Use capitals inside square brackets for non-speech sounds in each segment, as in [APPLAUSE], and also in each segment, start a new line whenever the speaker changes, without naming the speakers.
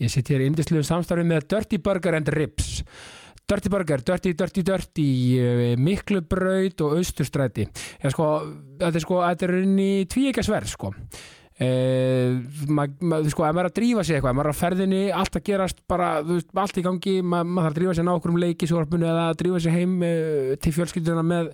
Ég sitt hér í indisluðu samstarfi með Dirty Burger and Ribs. Dirty Burger, Dirty, Dirty, Dirty, eh, Miklubraut og Austurstræti. Ég sko, þetta er sko, þetta er inn í tvíekja sverð, sko. Uh, ma, ma, sko, ef maður er að drífa sig eitthvað ef maður er á ferðinni, allt að gerast bara, þú veist, allt í gangi, ma, maður þarf að drífa sig ná okkur um leikisvarpinu eða að drífa sig heim uh, til fjölskylduna með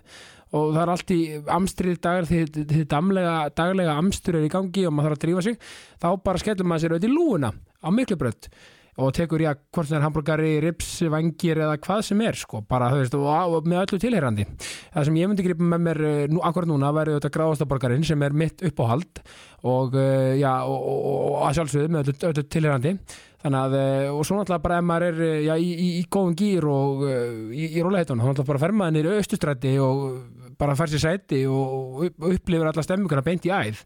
og það er allt í amstrið dagar því, því damlega, daglega amstur er í gangi og maður þarf að drífa sig þá bara skellum maður sér auðvitað í lúuna á miklu brönd og tekur í að hvort það er hambúrgari, rips, vangir eða hvað sem er sko, bara þú veist, og, og með öllu tilherrandi það sem ég myndi gripa með mér eh, nú, akkur núna væri auðvitað gráðastaborgarinn sem er mitt uppáhald og, eh, já, og, og, og, og að sjálfsögðu með öllu, öllu tilherrandi þannig að, eh, og svo náttúrulega bara ef maður er eh, já, í, í, í góðum gýr og eh, í, í rólegheitunum, þá náttúrulega bara fer maður niður austustræti og bara fer sér sæti og upp- upplifir alla stemminguna beint í æð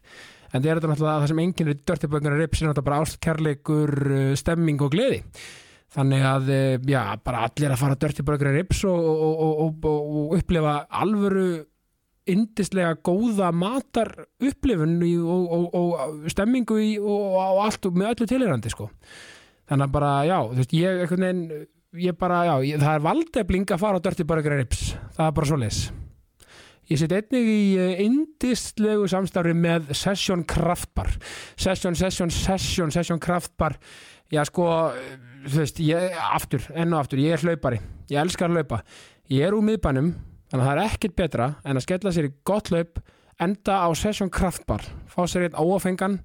en það er þetta náttúrulega það sem enginn er dörtibönguna rips er náttúrulega bara ástkærleikur stemming og gleði þannig að, eh, já, bara allir að fara dörtibönguna rips og, og, og, og, og, og upplifa alvöru yndislega góða matar upplifun í, og, og, og stemmingu í, og, og allt og með öllu tilherandi sko þannig að bara, já, þú veist, ég einhvern veginn, ég bara, já, ég, það er valdefling að fara á Dirty Burger and Rips, það er bara svoleiðis Ég set einnig í eh, yndislegu samstarfi með Session Kraftbar Session, Session, Session, Session Kraftbar Já, sko, eh, þú veist, ég, aftur, enn og aftur, ég er hlaupari Ég elskar að hlaupa Ég er úr miðbænum, þannig að það er ekkert betra en að skella sér í gott hlaup enda á Session Kraftbar fá sér einn óafengan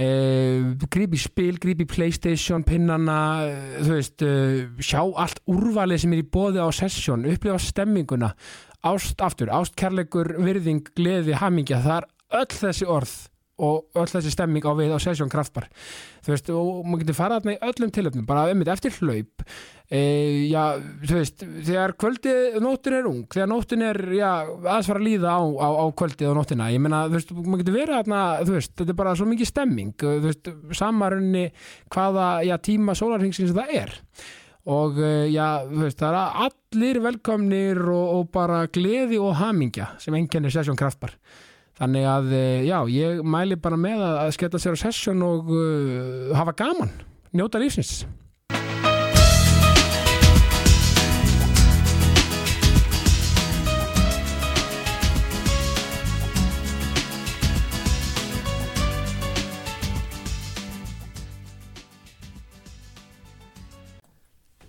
eh, gríp í spil, gríp í Playstation pinnana, eh, þú veist eh, sjá allt úrvalið sem er í bóði á Session, upplifa stemminguna ást aftur, ást kærleikur virðing, gleði, hamingja, það er öll þessi orð og öll þessi stemming á við á Session Kraftbar þú veist, og maður getur farað þarna í öllum tilöfnum bara einmitt eftir hlaup e, já, þú veist, þegar kvöldið nóttin er ung, þegar nóttin er já, aðeins fara að líða á, á, á kvöldið og nóttina, ég meina, þú veist, maður getur verið þarna, þú veist, þetta er bara svo mikið stemming eh, þú veist, samarunni hvaða, já, tíma sólarhengsins það er og eh, já, þú veist, það er allir velkomnir og, og bara gleði og hamingja sem enginn er sessjón kraftbar þannig að, eh, já, ég mæli bara með að, að skella sér á sessjón og uh, hafa gaman, njóta lífsins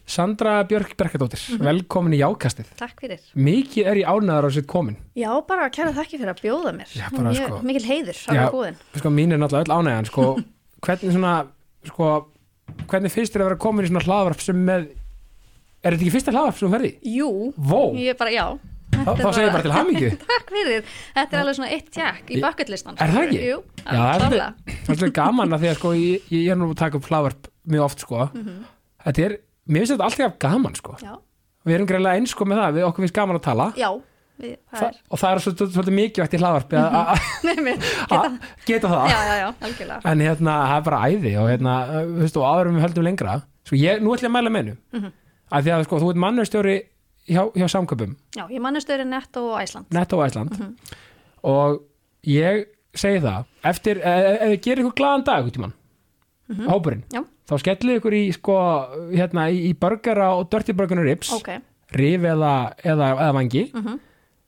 Sandra Björk Berkadóttir,
Mhm.
velkomin í Jákastið.
Takk fyrir.
Mikið er ég ánæðar á sitt komin.
Já, bara kæra þakki fyrir að bjóða mér.
Já, bara,
Mjög-
sko-
Mikil heiður á
Já.
búðin.
Sko, mín er náttúrulega öll ánæðan, sko,
[LAUGHS]
hvernig svona, sko, hvernig finnst þér að vera komin í svona hlaðvarp sem með, er þetta ekki fyrsta hlaðvarp sem þú ferði?
Jú,
Vó,
ég bara, já.
þá, þá segir ég bara til hamingju.
Takk fyrir. Þetta er alveg svona eitt jakk í
Ég-
bucketlistan.
Er það ekki?
Jú,
Já, það er Það
klálega.
er svolítið gaman að því að, sko, ég, ég er nú að taka upp hlaðvarp mjög oft, sko.
Mhm.
Þetta er, mér finnst þetta alltaf gaman, sko.
Já,
Við erum greiðlega eins, sko, með það, við okkur finnst gaman að tala.
já, við, það er.
og það er svolítið, svolítið mikilvægt í hlaðvarp að- að- að-
[LAUGHS] Nei, mér, geta.
að geta það.
Já, já, já, algjörlega.
en hérna, það er bara æði og hérna, þú veist, og áður en við höldum lengra sko, ég, nú ætlum ég að mæla mennu mm -hmm. af því að, sko, þú ert mannustjóri hjá, hjá samköpum,
Já, ég mannast öðru netto og Æsland.
netto á Æsland og ég segi það eftir, eh, ef þið gerir ykkur glaðan dag út í mann, hópurinn
Já,
þá skellið ykkur í, sko, hérna í, í burgara og dirty burgara rips
ok,
rif eða, eða, eða vangi
Mhm.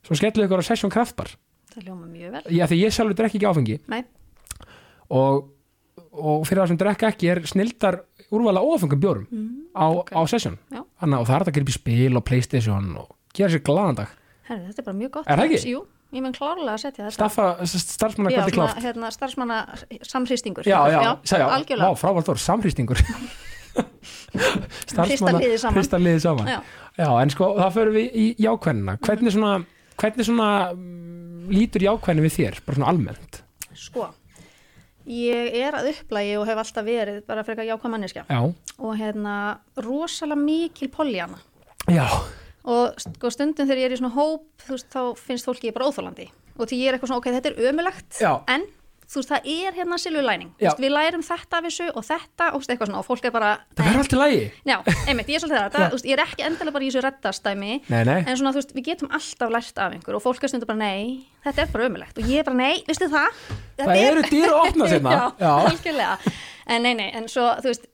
svo skellið ykkur á session kraftbar
það ljóma mjög vel.
já, því ég sjálfur drekki ekki áfengi
Nei,
og, og fyrir það sem drekka ekki er snildar úrvala óafengum bjórum á, á session
Mm, Já.
Hanna, og það er þetta að gripa í spil og playstation og gera sér glaðan dag
herri, þetta er bara mjög gott.
Er það ekki?
tips. Jú, ég menn klárlega að setja þetta.
Staffa, starfsmanna
Já,
kvöldi
svona,
kláft
hérna, starfsmanna samhrýstingur.
já, já, sagði, já,
algjörlega.
Vá, frávaldur,
[LAUGHS]
samhrýstingur
Hrista liðið saman.
hrista liðið saman.
Já. Mhm.
Já, en sko, það förum við í jákvennina hvernig svona, hvernig svona mm, lítur jákvenni við þér, bara svona almennt
Sko, ég er að upplægi og hef alltaf verið bara frekar jákvæð manneskja
já,
og hérna rosalega mikil polljanna
já,
og sko, stundum þegar ég er í svona hóp þú veist, þá finnst fólki ég bara óþólandi og því ég er eitthvað svona, ok, þetta er ömulegt
Já.
en þú veist, það er hérna silvulæning
Já.
við lærum þetta af þessu og þetta og þú veist, eitthvað svona og fólk er bara
það verður allt í lagi
Já, einmitt, ég er svolítið það, það þú veist, ég er ekki endilega bara í þessu reddastæmi
Nei, nei.
en svona, þú veist, við getum alltaf lært af einhver og fólk er stundum bara, nei, þetta er bara ömulegt og ég er bara, nei, veistu það, [LAUGHS]
það eru dýr að opna sérna
já, algjörlega en nei, nei, en svo, þú veist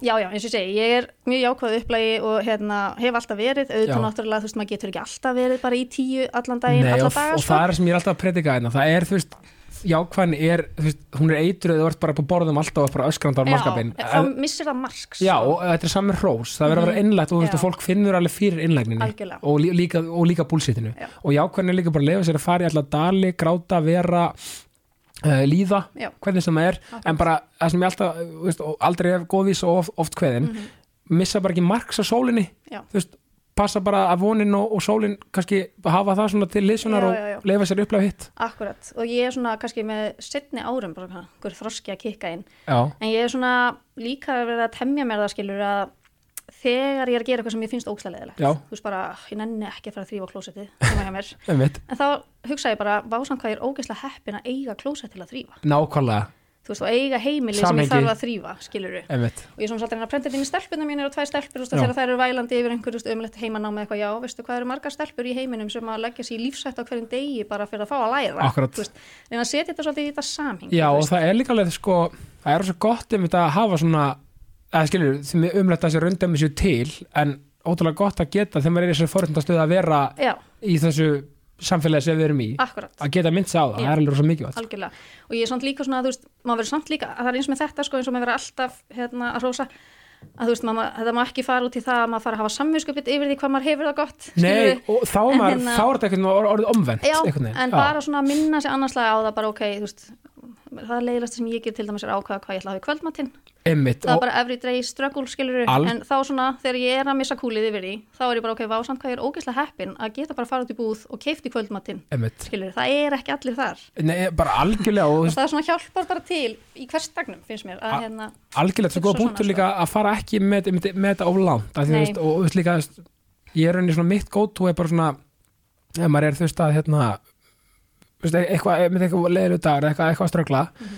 Já, já, eins og ég segi, ég er mjög jákvæð upplægi og hérna, hef alltaf verið, auðvitað
Já.
náttúrulega, þú veist, maður getur ekki alltaf verið bara í tíu allan daginn,
Nei,
alla
og,
daga, sko.
og það er sem ég er alltaf að predika hérna það er, þú veist, jákvæðan er þú veist, hún er eitruð, þú ert bara på borðum alltaf og bara öskrandi á markabinn
Já, eh, þá missir það marks.
Já,
sko.
og þetta er saman hrós, það verður að vera innlægt og, þú veist,
Mhm. Já.
og fólk finnur alveg fyrir innlægninni
Algjörlega.
og, lí- líka, og líka búlsitinu
Já.
og jákvæðan er líka bara að lefa sér að fara í alla dali, gráta, vera uh, líða,
Já.
hvernig sem það er en bara það sem ég alltaf eh, þú veist, og aldrei hef góðvís og oft, oft kveðin
Mhm.
missa bara ekki marks á sólinni
Já.
þú veist, passa bara að vonin og, og sólin kannski hafa það svona til liðsjónar
Já,
og
já, já.
leifa sér upplega hitt
Akkurat, og ég er svona kannski með setni árum bara hvað, hver þroski að kikka inn
Já,
en ég er svona líka að vera að temja mér það skilur að þegar ég er að gera eitthvað sem ég finnst ókslega leðilegt
Já.
þú veist bara, ég nenni ekki að fara að þrýfa klósettið sem að hjá mér,
einmitt,
en þá hugsa ég bara vásan hvað ég er ógeðslega heppin að eiga klósett til að þrýfa,
nákvæmlega
þú veist, og eiga heimili
Samhengi.
sem ég þarf að þrýfa, skilur
einmitt,
og ég er svona svolítið að reyna að prenta þetta inn í stelpuna mín og tvær stelpur, þú veist,
Já.
þegar þær eru vælandi yfir einhverjum ömulegt heimanám eða eitthvað, já, veistu hvað eru margar stelpur í heiminum sem að leggja sér í lífsætt á hverjum degi bara fyrir að fá að læra,
Akkurat.
þú veist, en að setja þetta svolítið í þetta samheng,
Já, og það er líka alveg sko, það er svo gott um þetta að hafa svona, eða skilur, því mér umlætt að þessi raundæmi sér til, en ótrúlega gott að geta þegar maður er í þessari forhundastöð að vera
Já,
í þessu samfélagi sem við erum í,
akkurat.
að geta mynd sig á það,
Já.
það er alveg svo mikilvægt.
algjörlega og ég er samt líka svona, þú veist, maður verður samt líka að það er eins með þetta, sko, eins og maður verður alltaf hérna, að rosa, að þú veist, maður, þetta má ekki fara út í það að maður fara að hafa samvinskupið yfir því hvað maður hefur það gott,
Nei,
skilurðu.
og þá, er
En
maður,
hérna-
þá er þetta einhvern veginn orðið omvend,
Já,
einhvern veginn.
en bara svona að minna sér annarslega á það bara, ok, þú veist, það er leiðilegt sem ég get til dæmis er að ákvaða hvað ég ætla að hafa í kvöldmatinn
Einmitt,
það er
og,
bara every day struggle skilur
Al-
en þá svona þegar ég er að missa kúlið yfir því þá er ég bara ok, vá samt hvað ég er ógeðslega heppin að geta bara að fara út í búð og keifti kvöldmattinn
einmitt,
skilur, það er ekki allir þar
Nei, bara algjörlega og þú
og
veist,
það er svona hjálpar bara til í hverstagnum finnst mér
A-
að hérna,
algjörlega þetta er
Hugsa
góða punktur
svona,
líka að fara ekki með, með, með þetta of langt af því, þú
Nei.
veist, og þú veist líka þú veist, ég er rauninni svona mitt gótt og er bara svona ef maður er þú veist að hérna þú veist, e-, eitthvað, með eitthvað leiðilu dagur eitthvað, eitthvað að ströggla
Mhm.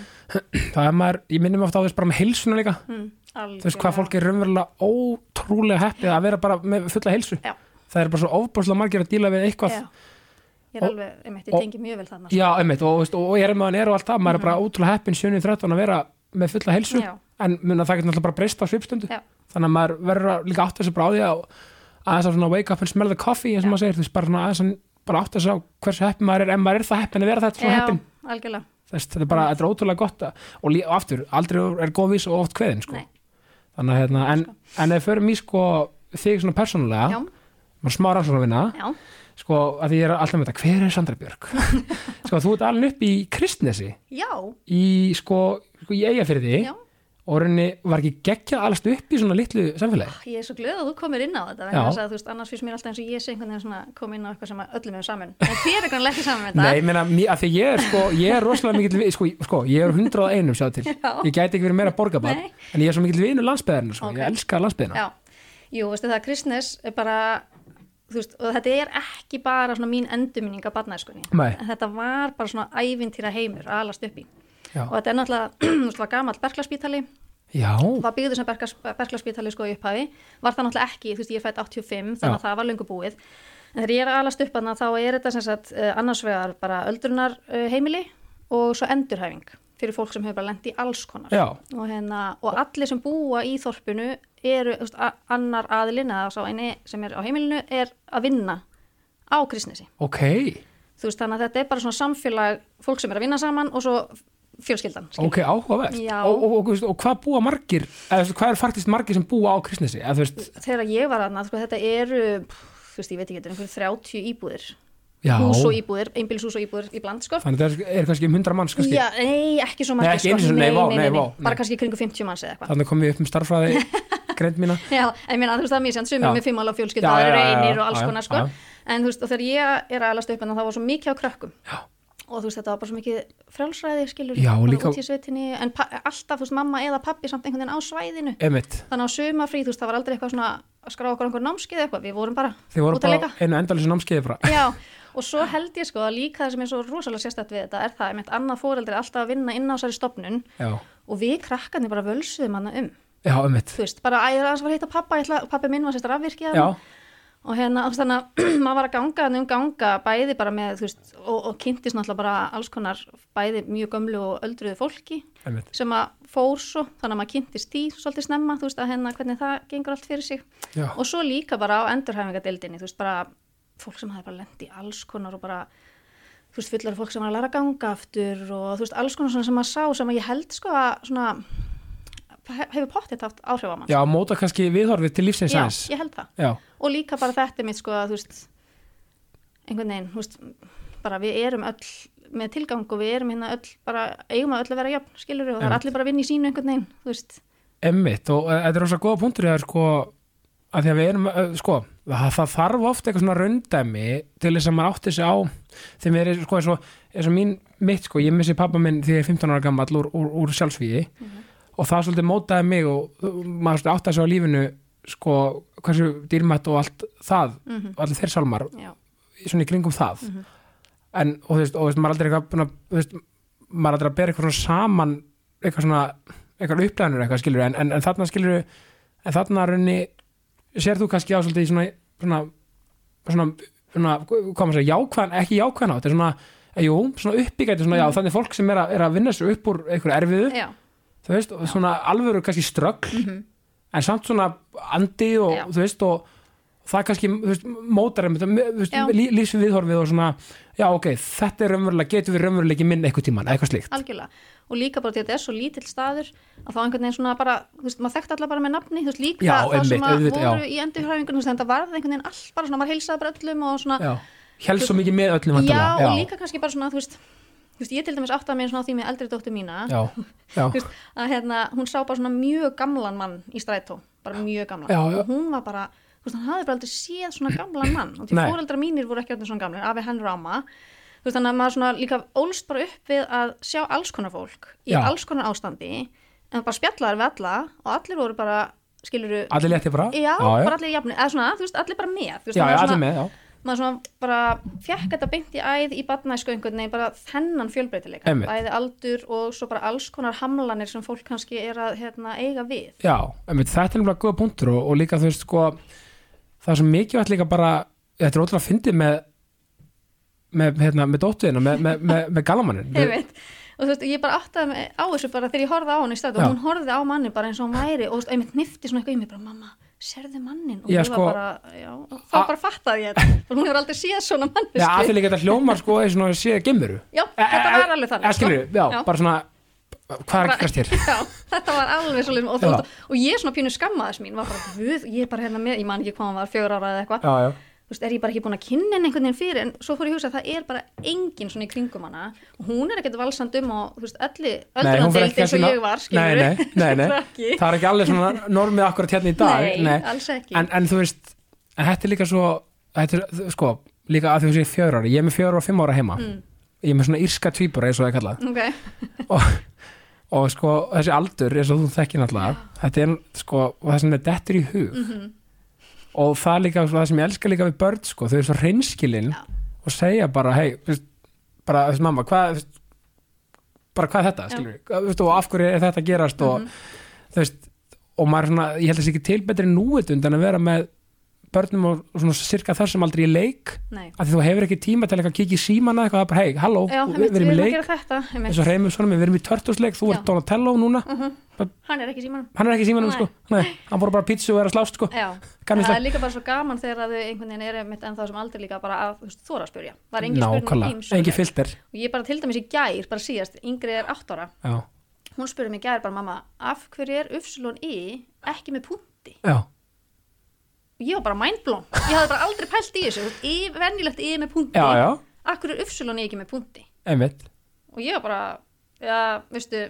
þá er maður, ég minnum ofta á þess bara með heilsuna líka
mm,
þú veist hvað fólk er raunverulega ótrúlega heppið að vera bara með fulla heilsu
Já.
það er bara svo ofbúrslega margir að díla við eitthvað
já, ég er
Og-
alveg, einmitt,
og-
ég tengi mjög vel þarna
Já, einmitt, og, veist, og, og ég er meðan er og allt það, maður er bara ótrúlega heppin 7-13 að vera með fulla helsu,
Mhm. Já.
en muna það getur náttúrulega bara breyst á svipstundu,
Já.
þannig að maður verður að líka átt þessu bráði að aðeins að svona wake up and smell the coffee, eins og maður segir, þú veist, bara svona aðeins að bara átt þessu á hversu heppin maður er, en maður er það heppin að vera þetta svona heppin,
algjörlega
Þess, þetta er
Mm.
bara, þetta er ótrúlega gott að, og, lí, og aftur, aldrei er góð vís og oft kveðin, sko,
Nei.
þannig að hérna, en, en ef við förum í, sko, þig svona persónulega,
já,
maður smá rannsóknarvinna,
já,
sko, að því ég er alltaf með þetta, hver er Sandra
[LAUGHS]
Björk? sko, þú ert alveg upp í Kristnesi,
já,
í sko, sko í eiga fyrir því
Já.
og rauninni var ekki geggjað allast upp í svona litlu samfélagi.
ég er svo glöð að þú komir inn á
Já.
þetta vegna þess að, þú veist, annars finnst mér alltaf eins og ég sé einhvern veginn svona kom inn á eitthvað sem að öllum er saman en þér er eitthvað ekki saman með
Nei, ég meina, mér- af því ég er sko, ég er rosalega mikill, vi- sko, sko, ég er 101 sjá til,
Já.
ég gæti ekki verið meira borgarbarn,
Nei.
en ég er svo mikill vinur landsbyðarinn, sko,
Ok.
ég elska landsbyðina.
Já, jú, veistu það, kristnes er bara, þú veist, og þetta er ekki bara svona mín endurminning af barnæskunni.
Nei.
Þetta var bara svona ævintýra heimur að alast upp í.
Já.
Og þetta er náttúrulega, [CLEARS THROAT] þú veist, var gamall berklaspítali,
Já,
var byggður sem berkas, berklaspítali sko í upphafi, var það náttúrulega ekki, þú veist, ég er fætt 85, þannig
Já.
að það var löngu búið. En þegar ég er að alast upp að þá er þetta sem sagt eh, annars vegar bara öldrunar eh, heimili og svo endurhæfing fyrir fólk sem hefur bara lent í alls konar
já,
og, hérna, og allir sem búa í þorpinu eru þú veist, a- annar aðilinn eða sá eini sem er á heimilinu er að vinna á kristnesi
ok,
þú veist þannig að þetta er bara svona samfélag fólk sem er að vinna saman og svo fjölskyldan skilur.
ok, áhugavert.
Já.
Og, og, og, þú veist, og hvað búa margir, eða þú veist, hvað er faktist margir sem búa á kristnesi, eða þú veist,
þegar ég var aðna sko, þetta eru pff, þú veist ég veit ekki þetta er einhver 30 íbúðir
já,
hús og
þannig
íbúðir, einbils hús og íbúðir í bland sko.
að það er- er kannski um 100 manns, kannski,
Já, nei, ekki svo
Nei,
margir sko.
ekki einu sinni, nei, vá, nei, vá, nei.
bara kannski í kringum 50 manns eða eitthvað
þannig kom ég upp um
[LAUGHS]
starffræði, greint mína.
Já, en minna, þú veist það er mjög sjönd, sumir
Já.
með fimm ála
Já,
fjölskylda,
já,
aðrir
já, já,
einir og
já,
alls
já,
konar sko.
já.
En þú veist, og þegar ég er aðalast upp en það var svo mikið á krökkum.
Já.
Og þú veist, þetta var bara svo mikið frjálsræði, skilur,
Já, og
bara
líka-
út í sveitinni, en pa- alltaf, þú veist, mamma eða pappi samt einhvern veginn á svæðinu.
Emitt,
Þannig á sumafrí, þú veist, það var aldrei eitthvað svona að skrá okkur einhver námskið eða eitthvað, við vorum bara
Þið voru
út að
bara
leika.
einu endalísu námskeiði frá.
Já, og svo held ég sko að líka það sem er svo rosalega sérstætt við þetta er það, einmitt annað fóreldri alltaf að vinna inn á þessari stopnun
[LAUGHS] Já,
og við krakkarnir bara völsuðum hana um.
já, einmitt.
Þú veist, bara æðra að fara að hitta pappa, ætla, pappi minn var sérst rafvirkjað
Já,
og hérna, þú veist, þannig að [CLEARS THROAT] maður var að ganga en um ganga bæði bara með, þú veist, og, og kynntist náttúrulega bara alls konar bæði mjög gömlu og öldruðu fólki
Einmitt.
sem að fór svo, þannig að maður kynntist því svolítið snemma, þú veist, að hérna hvernig það gengur allt fyrir sig
Já.
og svo líka bara á endurhæfingadeildinni, þú veist, bara fólk sem hafi bara lendi í alls konar og bara þú veist, fullar af fólk sem var að læra að ganga aftur og þú veist, alls konar svona sem maður sá sem að ég held sko að svona he- hefur pottið haft áhrif á mann
Já, móta kannski viðhorfið til lífsins
Já,
aðeins.
ég held það
Já,
og líka bara þetta mitt sko að þú veist einhvern veginn, þú veist bara við erum öll með tilgang og við erum hérna öll bara, eigum að öll að vera jafn skilur og það er
Einmitt.
allir bara að vinna í sínu einhvern veginn þú veist,
emmitt og eh, þetta er rosa góða punktur það er sko að því að við erum, eh, sko, það, það þarf oft eitthvað svona raundæmi til þess að maður átti sig á þegar við erum, sko, eins og, eins og mín, mitt, sko, ég missi pappa minn því ég er 15 ára gammal úr, úr, úr sjálfsvíði
Mhm.
og það svolítið mótaði mig og uh, maður svolítið átti sig á lífinu sko, hversu dýrmætt og allt það, mm
Mhm.
allir þeir sálmar
já,
svona í kringum það en, og þú veist, og þú veist, maður er aldrei eitthvað búin að- þú veist, maður er aldrei að bera eitthvað svona saman eitthvað svona, eitthvað upplæðanur eitthvað skilur, en, en, en þarna skilur en þarna raunni, sér þú kannski á svolítið í svona, svona svona, svona, hvað maður segja jákvæðan, ekki jákvæðan á, þetta er svona eh, jú, svona uppbyggæti, svona, já, þannig fólk sem er að, er að vinna sér upp úr einhverju erfiðu
já, Mhm.
þú veist, og svona alvöru kannski ströggl en samt svona andi og
Já.
þú veist, og það kannski, þú veist, mótar einmitt, þú veist,
Já.
lí- lýsum viðhorfið og svona já, ok, þetta er raunverulega, getum við raunveruleiki minn eitthvað tíman, eitthvað slíkt
algjörlega og líka bara til að þetta er svo lítill staður að þá einhvern veginn svona bara, þú veist, maður þekkti alla bara með nafni, þú veist, líka
Já,
það
einmitt,
sem að
auðvitað, já.
voru í endurhæfingunum, þú veist, þetta varð einhvern veginn allt bara svona, maður heilsaði bara öllum og svona
já, helst svo mikið með öllum væntanlega.
já, og líka kannski bara svona, þú veist þú veist, ég til dæmis áttaði mig svona á því með eldri dóttur mína
já, já,
Þú veist, að hérna, hún sá bara svona mjög gamlan mann í strætó, bara mjög gamlan
Já, já.
og hún var bara, þú veist, hann hafði bara aldrei séð svona gamlan mann, og því
Nei.
fóreldra mínir voru ekki allir svona gamlir, afi henn ráma þú veist, þannig að maður svona líka ólst bara upp við að sjá alls konar fólk í
Já.
alls konar ástandi, en bara spjallaður við alla og allir voru bara, skiluru
allir létti bara
já, bara allir jafnir, eða svona, þú veist, allir bara með þú veist,
já, já,
þannig að
allir
svona-
með, já,
maður svona bara fekk þetta beint í æð í barnæsku einhvern veginn, bara þennan fjölbreytileika
Einmitt.
bæði aldur og svo bara alls konar hamlanir sem fólk kannski er að hérna, eiga við
já, einmitt, þetta er nefnilega góða punktur og, og líka, þú veist, sko það er svo mikilvægt líka bara þetta er ótrúlega fyndið með með, hérna, með dóttuðina, með, með, með, með galamannin
Einmitt. og þú veist, ég bara áttaði mig á þessu bara þegar ég horfði á hann í stöðu
Já.
og hún horfði á manni bara eins og hún væri og þú veist, einmitt nifti svona eitthvað í mig bara mamma, serðu mannin og
Já,
ég
sko-
var bara, já, og þá bara fattaði ég þetta og hún hefur aldrei séð svona manni
Já, að því líka þetta hljómar sko eins og sé E, gemuru
já, þetta var alveg þannig sko.
Skilur, eh, já,
Já.
bara svona Hvað er að gerast hér?
já, þetta var alveg svolítið og, þú
Já.
veist, og ég svona pínu skammaðis mín var bara, guð, ég er bara hérna með, ég man ekki hvað hann var fjögur ára eða eitthvað,
Já, já,
þú veist, er ég bara ekki búin að kynna henni einhvern veginn fyrir, en svo fór ég að hugsa að það er bara enginn svona í kringum hana og hún er ekkert valsand um og, þú veist, öllu öllu
hún fer ekki
eins og
kannski-
ég var,
Nei,
skilur
nei, nei,
[LAUGHS]
nei. það er ekki alveg svona normið akkurat hérna í dag
Nei, alls ekki.
En, en þú veist, en þetta er líka svo þetta er, þú- sko, líka að þú sé fjör ára ég er með fjör og fimm ára heima
Mm.
ég er með svona írska tvíbura eins og það er kallað
ok,
og, og sko þessi aldur eins og þú þekkir náttúrulega þetta er sko og það sem er dettur í hug
Mhm.
og það er líka sko, það sem ég elska líka við börn sko þau eru svo reynskilin
Já.
og segja bara hei veist, bara veist, mamma hvað veist, bara hvað er þetta skilur við Hvað- veist, og af hverju er þetta að gerast og
Mhm.
þú veist og maður er svona ég held að þessi ekki til betri núvitund en að vera með börnum og svona sirka þar sem aldrei í leik
nei
að þú hefur ekki tíma til eitthvað að kíkja í símana eitthvað það er bara hei halló
já,
við-
einmitt,
við erum í leik
að gera þetta
eins og
einmitt.
Reymur svona, við erum í törtusleik þú
Já.
ert Donatello núna
hann er ekki í símanum
hann er ekki í símanum
Nei.
sko, Nei, hann voru bara á pítsu og er að slást sko.
Já,
Gamli
það
stelp-
er líka bara svo gaman þegar að þau einhvern veginn eru mitt en þá sem aldrei líka bara að þú veist, þóra að spyrja Það er engin spurning um
nákvæmlega,
ýmsu.
engin filter
og ég bara til dæmis í gær, bara síðast, yngri er 8 ára
já,
hún spurði mig í gær bara mamma af hverju er Ufslun I ekki með punkti
já,
og ég var bara mindblown, ég hafði bara aldrei pælt í þessu Þú veist, I, venjulegt I með punkti
já, já
af hverju er Ufslun I ekki með punkti
einmitt,
og ég var bara, já, veistu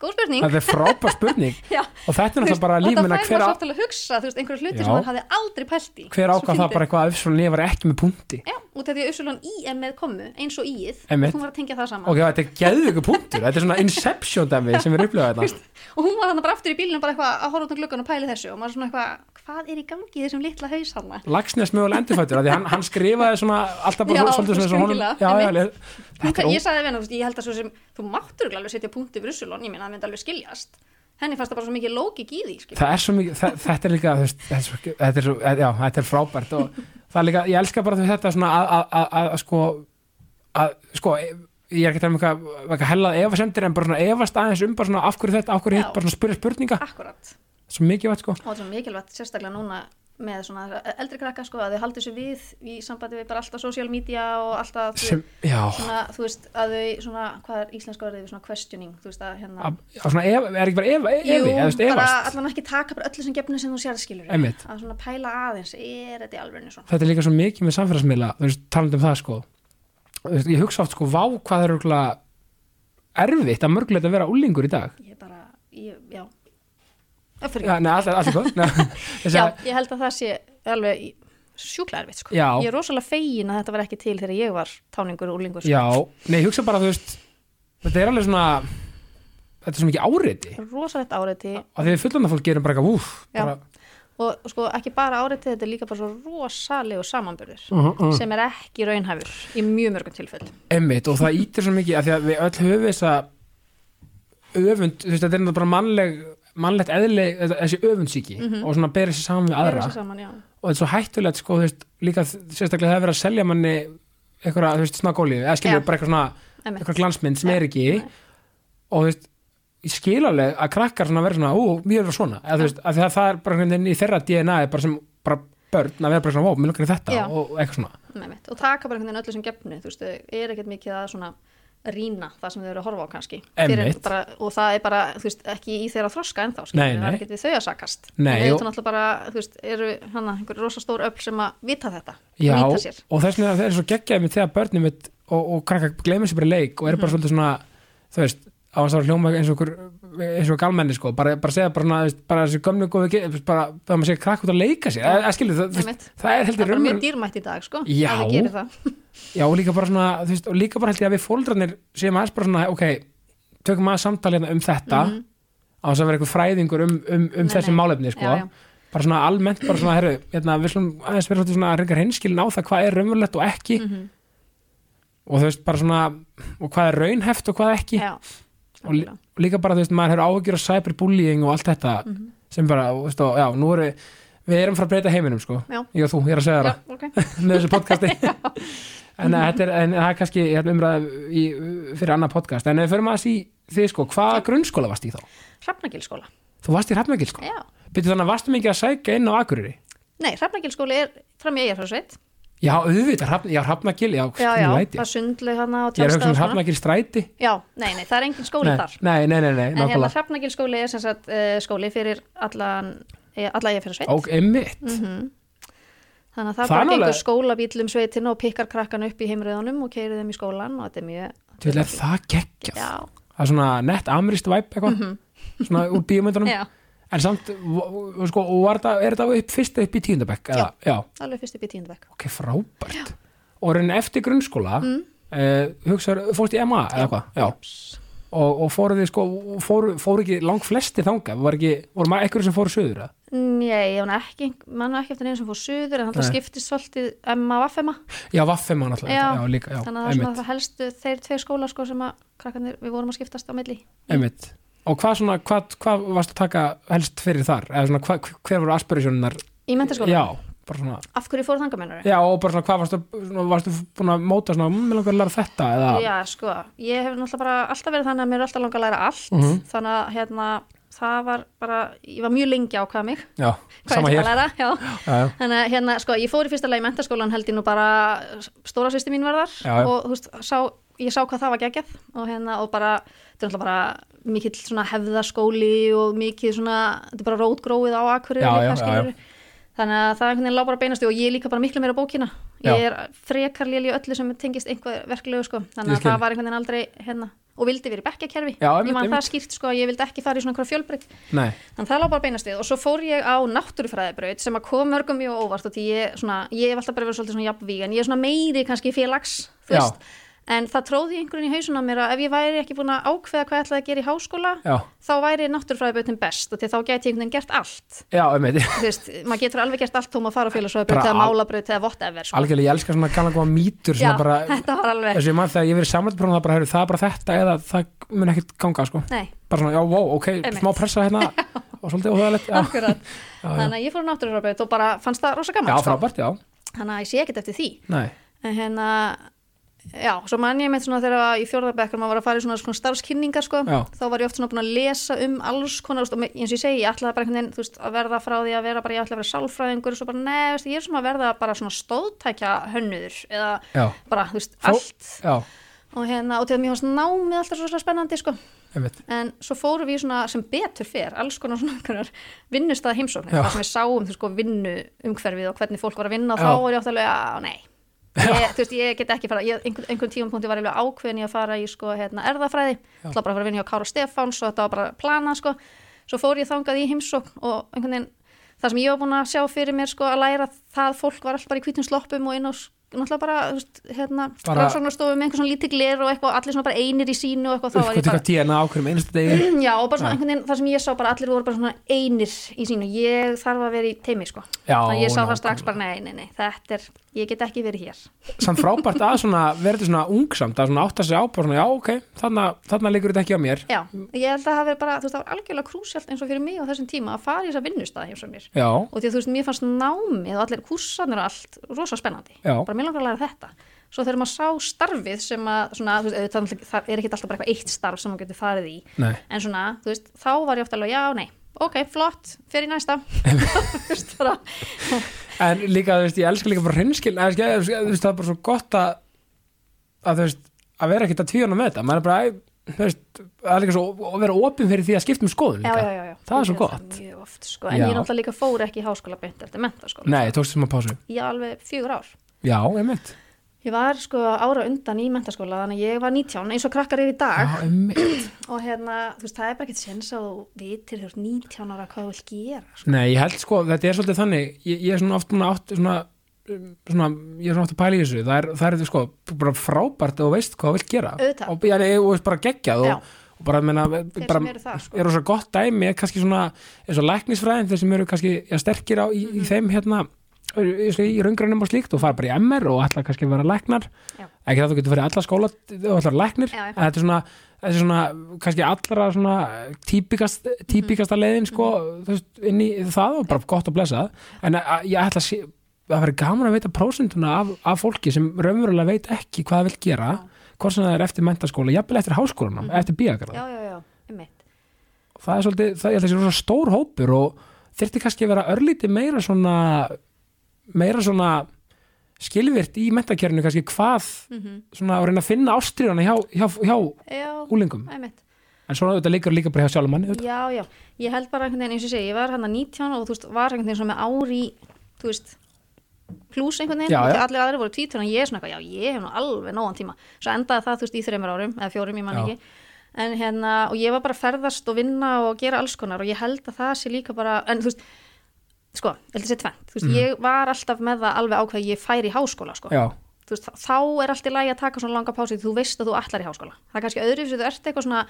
góð spurning
það er frábær spurning
[LAUGHS] Já.
og þetta er náttúrulega bara
Þú veist,
líf minna
og það fær
hver,
maður
á,
svo til að hugsa, þú veist, einhverju hluti
Já.
sem maður hafði aldrei pælt í
hver
Svo
ákvað það
fyndið.
bara eitthvað að Ufsson ég var ekki með punkti
Já, út af því að Uppsilon í er með komu eins og íð
Einmitt.
og hún var að tengja það saman
ok, þetta er geðvöku punktur, þetta er svona inception dæmi sem hérna. við upplöðum þetta
og hún var þannig bara aftur í bílinu bara eitthvað að horfa út um gluggan og pæli þessu og maður svona eitthvað, hvað er í gangi í þessum litla haus hann hún
Lagsnes mögulega endurfættur, af því hann, hann skrifaði svona alltaf bara
Já,
svolítið svona eins og honum
skringilega,
já, já,
einmitt.
þetta er
ég sagði við henni, þú veist, ég held að svo sem þú máttur alveg setja punkti fyrir Uppsilon, ég meina það myndi alveg skiljast henni fannst það bara svo mikið lógik í því skilur.
það er svo mikið, það, þetta er líka þú veist, þetta er svo, þetta er svo, já, þetta er frábært og það er líka, ég elska bara þú veist, þetta svona að, að, að, að, að sko að, sko, ég er ekki að tala um eitthvað eitthvað hellað efasemdir en bara svona efast aðeins um bara svona af hverju þetta, af hverju hitt,
Já.
bara svona spyrja spurninga
akkurat
svo mikið vett sko,
og það er svo mikilvægt sérstaklega núna með svona eldri krakka sko að þau haldi þessu við í sambandi við bara alltaf social media og alltaf þau-
sem, já
svona, þú veist, að þau svona, hvað er íslenska orðið, við svona questioning, þú veist, að hérna
að, að svona, ef, er ekki bara ef, efi, eða þú veist,
bara
efast
allan ekki taka bara öllu sem gefnir sem þú sér skilur
Einmitt.
að svona pæla aðeins, er þetta í alvegni svona
þetta er líka svo mikið með samfélagsmiðla þú veist, talandi um það sko Þú veist, ég hugsa oft sko, vá hvað það er örugglega erfitt að mörgulegt að vera úlingur í dag
ég bara, ég, já Ö, fyrir,
Já, nei, alltaf, alltaf góð Nei, [LAUGHS] þessi-
já, ég held að það sé alveg í- sjúklega erfitt sko
Já.
ég er rosalega fegin að þetta var ekki til þegar ég var táningur og úlingur sko.
Já, nei, ég hugsa bara, þú veist þetta er alveg svona þetta er svo mikið áriði
rosalegt áreiti
og þegar fullanda fólk gerum bara eitthvað, úf
Já.
bara,
og sko ekki bara áreiti þetta er líka bara svo rosalegu samanbörður
uh, uh.
sem er ekki raunhæfur í mjög mörgum tilfell
Einmitt, og það ítir svo mikið af því að við öll höfum þessa öfund, þú veist, þetta er náttúrulega bara mannleg mannlegt eðli, þetta- þessi öfundsíki og svona berið sér saman við aðra
Mhm. saman, já
og þetta er svo hættulegt, sko, þú veist, líka sérstaklega það er verið að selja manni eitthvað, þú veist, snakkolíu, eða skilur
Já.
bara eitthvað svona
Einmitt.
eitthvað glansmynd sem er ekki
Nei.
og þú veist, ég skil alveg að krakkar svona verið svona, ú, mér er svona eða, þú veist, að það, það er bara einhvern veginn í þeirra DNA er bara sem bara börn að vera bara svona, ó, mér lukkar þetta
Já.
og eitthvað svona
Nei, mitt. og taka bara einhvern veginn öllu sem gefnu þú veist, þau er ekkert mikið að svona rýna það sem þau eru að horfa á kannski Fyrir
Einmitt.
bara, og það er bara, þú veist, ekki í þeirra þroska ennþá, skilur,
Nei,
við, það
nei.
er ekkert við þau að sakast
Nei,
og þau
og-
eru náttúrulega bara, þú veist, eru hana, einhver rosa stór öll sem að vita þetta
Já,
vita sér,
og þess vegna það er svo geggjaði með þegar börnum mitt og, og krakkar gleymir sér bara í leik og eru
Mhm.
bara svolítið svona, þú veist á hans að hljóma eins og okkur eins og galmenni sko, bara, bara segja bara, svona, þú veist, bara þessi gömnu góðu, ge- bara það maður segja krakk út að leika sér, að, að skilja það, þú veist,
Einmitt.
það er
það
heldur
er bara
raunverulega
mjög dýrmætt í dag sko,
um- Já.
að þau gerir það
[LAUGHS] Já, og líka bara svona, þú veist, og líka bara held ég að við fóldrarnir séum aðeins bara svona, ok, tökum aðeins samtali hérna um þetta á þess að vera eitthvað fræðingur um, um, um
Mhm. Nei,
þessi
nei.
málefni, sko.
Já, já.
Bara svona almennt, bara svona, herru, hérna, við slum aðeins vera svolítið svona að reyngja hinskilin á það hvað er raunverulegt og ekki
Mhm.
og þú veist, bara svona, og hvað er raunheft og hvað ekki
Já,
og, lí- og líka bara, þú veist, maður hefur áhyggjur af cyberbullying og allt þetta
Mhm.
sem bara, og, þú veist, og já, nú erum við, við erum frá að breyta heiminum, sko.
Já.
Ég og þú, ég er að segja það
já,
[LAUGHS]
ok
með þessu
[LAUGHS]
podcasti en að þetta er, en það er kannski hérna, umræð í, fyrir annað podcast en ef við förum aðeins í þið sko, hvaða grunnskóla varst í þá?
Hrafnagilskóla,
Þú varst í Hrafnagil sko,
já,
byrju þannig að varstu mikið að sækja inn á Akureyri?
nei, Hrafnagilskóli er fram í Eyjafjörðsveit,
Já, auðvitað, Hrafn, já, Hrafnagil, já,
já, já,
læti
það er sundlaug hana og
ég er að hugsa
tjálstað
um Hrafnagil stræti
já, nei, nei, það er engin skóli
nei,
þar
nei, nei, nei, nei,
En hérna
nákvæmlega
Hrafnagil skóli er sem sagt uh, skóli fyrir allan, eh, alla ég fyrir sveit
og einmitt,
Mhm. þannig að það
Það er
bara gengur
alveg-
skólabíl um sveitin og pikkar krakkan upp í heimriðunum og keirið þeim í skólan og þetta er mjög
til að það geggjað
já, Mhm.
það er svona nett amrist væp eitthvað svona úr bíómyndunum
[LAUGHS] já,
en samt, v- v- sko, og var það, er það upp, fyrst upp í tíundabekk? Já. já
alveg fyrst upp í tíundabæk
ok, frábært og raunin eftir grunnskóla mm. hugsaður, fórst í MA eða hvað já, og, og fóruð þið sko fóru, fóru ekki lang flesti þangað var ekki, voru maður ekkur sem fóru söður eða?
Nei, ég man ekki, mann ekki eftir einu sem fór suður en þannig að
Nei.
skiptist svolítið emma og affema
já, vaffema náttúrulega
Já,
já, já, líka, já,
þannig að það er svona
einmitt,
það helstu þeir tvei skólar sko sem að krakkanir, við vorum að skiptast á milli
einmitt og hvað svona, hvað, hvað varst að taka helst fyrir þar, eða svona, hvað, hver voru aspirasjónunar,
í mentaskóla,
já, bara svona
af hverju fór þangamennur
já, og bara svona, hvað varstu, svona, varstu búin að móta svona, mmm, langar að læra þetta eða,
Já, sko, ég hef náttúrulega bara alltaf verið þannig að mér er alltaf langa að læra allt
Mhm.
þannig að hérna, það var bara ég var mjög lengi ákvað mig
já,
hvað
sama
ég ætla að
hér
læra, já
já, já,
þannig að hérna, sko, ég fór í fyrsta lagi í mentaskólan held ég nú bara stóra sýsti mín var þar
Já, já.
og þú veist, sá, ég sá hvað það var geggjað og hérna, og bara, þetta er náttúrulega bara mikill svona hefðaskóli og mikið svona, þetta er bara rótgróið á akkurir
Já, já, já, já.
þannig að það er einhvern veginn lá bara beinast í og ég er líka bara miklu meira bókina
Já.
ég er frekar lél í öllu sem tengist einhver verklegu sko,
Ég
þannig að
skil.
það var einhvern veginn aldrei hérna, og vildi verið bekkjakerfi
Já, einmitt,
ég man það
einmitt.
skýrt sko, að ég vildi ekki fara í svona einhverja fjölbreytt
nei,
Þannig að það lá bara beinast við og svo fór ég á náttúrufræðibraut sem að kom mörgum mjög óvart og því ég, svona, ég hef alltaf bara verið svolítið svona jafnvíg en ég er svona meiri kannski félags,
Já.
þú veist, en það tróði einhvern í hausun á mér að ef ég væri ekki búin að ákveða hvað ég ætlaði að gera í háskóla
já,
þá væri náttúrfræðibautin best og því að þá gæti ég einhvern veginn gert allt
já, einmitt
þú veist, maður getur alveg gert allt þó maður fara á
Bara
félagsfræðibraut eða
al-
málabraut eða whatever sko.
algjörlega, ég elska svona kannan góða mýtur
já,
svona bara,
[LAUGHS] þetta var alveg
þessu ég maður þegar ég verið samlætprófum það bara, heyrðu, það er bara þetta eða það mun ekkert ganga sko
nei,
bara svona, já, wow, ok,
Einmitt.
smá pressa
[LAUGHS]
hérna og svolítið óhæðalegt, já,
akkurat
já, já,
þannig að ég fór á náttúrfræðibraut og bara fannst það rosa
já,
gaman sko.
frábært, já
þannig að ég sé ekkert eftir því
nei,
en hérna, já, svo mann ég meitt svona þegar að í fjórðarbekkur maður var að fara í svona, svona starfskynningar sko,
Já.
þá var ég oft svona búin að lesa um alls konar, þú veist, og me- eins og ég segi, ég ætlaði bara einhvern veginn, þú veist, að verða frá því að vera bara, ég ætlaði að vera sálfræðingur, svo bara, nei, veist, ég er svona að verða bara svona stóðtækja hönnuður, eða
já,
bara, þú veist,
Fó-
allt
já,
og hérna, og til að mér fannst námið alltaf svo spennandi, sko,
einmitt
en svo fórum við í svona sem betur fer, alls konar svona einhverjar vinnustæða heimsóknir,
Já.
þar sem við sáum þú sko vinnu umhverfið og hvernig fólk var að vinna og
Já.
þá var ég átt alveg að, nei ég, þú veist, ég get ekki fara, ég, einhver, einhvern tímapunkti var ég alveg ákveðin í að fara í sko hérna erðafræði, þá bara að fara að vinna hjá Kára Stefáns og þetta var bara planað sko svo fór ég þangað í heimsókn og einhvern veginn það sem ég var búin að sjá fyrir mér sko að læra það fólk var alltaf bara í hvítum sloppum og inn á s- náttúrulega bara, þú veist, hérna
Bara-
rannsóknarstofu með einhver svona lítið gler og eitthvað allir svona bara einir í sínu og eitthvað þá var
uppgötu
ég bara
hvað DNA á hverjum einasta degi
[CLEARS THROAT] Já, og bara svona einhvern veginn, það sem ég sá bara allir voru bara svona einir í sínu, ég þarf að vera í teimi sko,
Já,
þannig að ég sá það
nákvæmlega.
strax bara nei, nei, nei, þetta er, ég get ekki verið hér
samt frábært að svona verður svona ungsamt að svona átta sig á bara svona, já, ok, þarna, þarna liggur þetta ekki á mér
Já, ég held að það hafi bara, þú veist, það var algjörlega krúsjalt eins og fyrir mig á þessum tíma að fara í þess að vinnustæða hjá sem mér
já,
og því að þú veist, mér fannst námið og allir kússanir og allt rosa spennandi,
Já.
bara mér langar að læra þetta svo þegar maður sá starfið sem að svona, þú veist, auðvitað náttúrulega- það er ekki alltaf bara eitthvað eitt starf sem maður getur farið í,
nei,
en svona, þú veist, þá var ég ofta alveg, já, nei, ok, flott, fyrir næsta [LAUGHS] þú veist, bara,
en líka, þú veist, ég elska líka bara hreinskil, eða skil- eða skil- þú veist, það er bara svo gott að að þú veist, að vera ekkert að tvíuna með þetta, maður er bara æ, þú veist, það er líka svo, að vera opin fyrir því að skipta um skoðun
já,
líka,
já, já, já
það
Ég
er svo
gerði
gott
mjög oft, sko, en
Já.
ég náttúrulega líka fór ekki í háskóla beint eftir mentaskóla,
nei, tókstu smá pásu,
ég alveg fjögur ár
já, einmitt
Ég var sko ára undan í mentaskóla þannig að ég var 19 eins og krakkar er í dag
já, einmitt,
og hérna, þú veist, það er bara ekkert sens að þú vitir þú ert 19 ára hvað þú vilt gera sko.
nei, ég held sko, þetta er svolítið þannig, ég, ég er svona oft svona, oft, svona um, svona, ég er svona oft að pæla í þessu það er, það er þetta sko, bara frábært og veist hvað þú vilt gera
Auðvitað.
og, já, nei, og veist bara geggjað
Já.
og, og bara, menna,
Þeir
bara
sem eru það, sko.
er rosa gott dæmi er kannski svona eins og læknisfræðin þeir sem eru kannski ja, sterkir á í, í
Mhm.
þeim hérna í, í raungrænum og slíkt og fara bara í MR og ætla kannski að vera læknar
Já.
ekki það þú getur farið í alla skóla og ætlar læknir
Já, já.
en þetta er svona, þetta er svona kannski allra svona típikast, típikasta leiðin sko þú veist, inn í það og bara gott að blessa en að, að, ég ætla að sé að vera gaman að veita prósentuna af, af fólki sem raunverulega veit ekki hvað það vil gera hvort sem það er eftir mentaskóla, jafnvel eftir háskólanum, eftir bíakarða
Já, já, já, einmitt
það er svolítið, það er þessi rosa stór hópur og þyrfti kannski að vera örlítið meira svona meira svona skilvirt í mentakjörinu kannski hvað svona að reyna að finna ástriðana hjá, hjá, hjá
Já,
úlingum
einmitt
en svona auðvitað líkur líka bara hjá sjálfum manni auðvitað.
Já, já, ég held bara einhvern veginn eins og ég segi, ég var hann að 19 og þú veist, var einhvern veginn svona með ári þú veist, pluss einhvern veginn
Já, já.
og allir aðrir voru tvítur en ég er svona eitthvað, já, ég hef nú alveg nógan tíma svo endaði það, þú veist, í þreymur árum eða fjórum, ég man
Já.
ekki en hérna, og ég var bara að ferðast og vinna og gera alls konar og ég held að það sé líka bara, en þú veist sko, ég held að sé tvennt, þú veist,
Mhm.
ég var alltaf með það alveg ákveð að ég færi í háskóla sko
já,
þú veist, þá er allt í lagi að taka svona langa pási því þú veist að þú ætlar í háskóla það er kannski öðruvísi þú ert eitthvað svona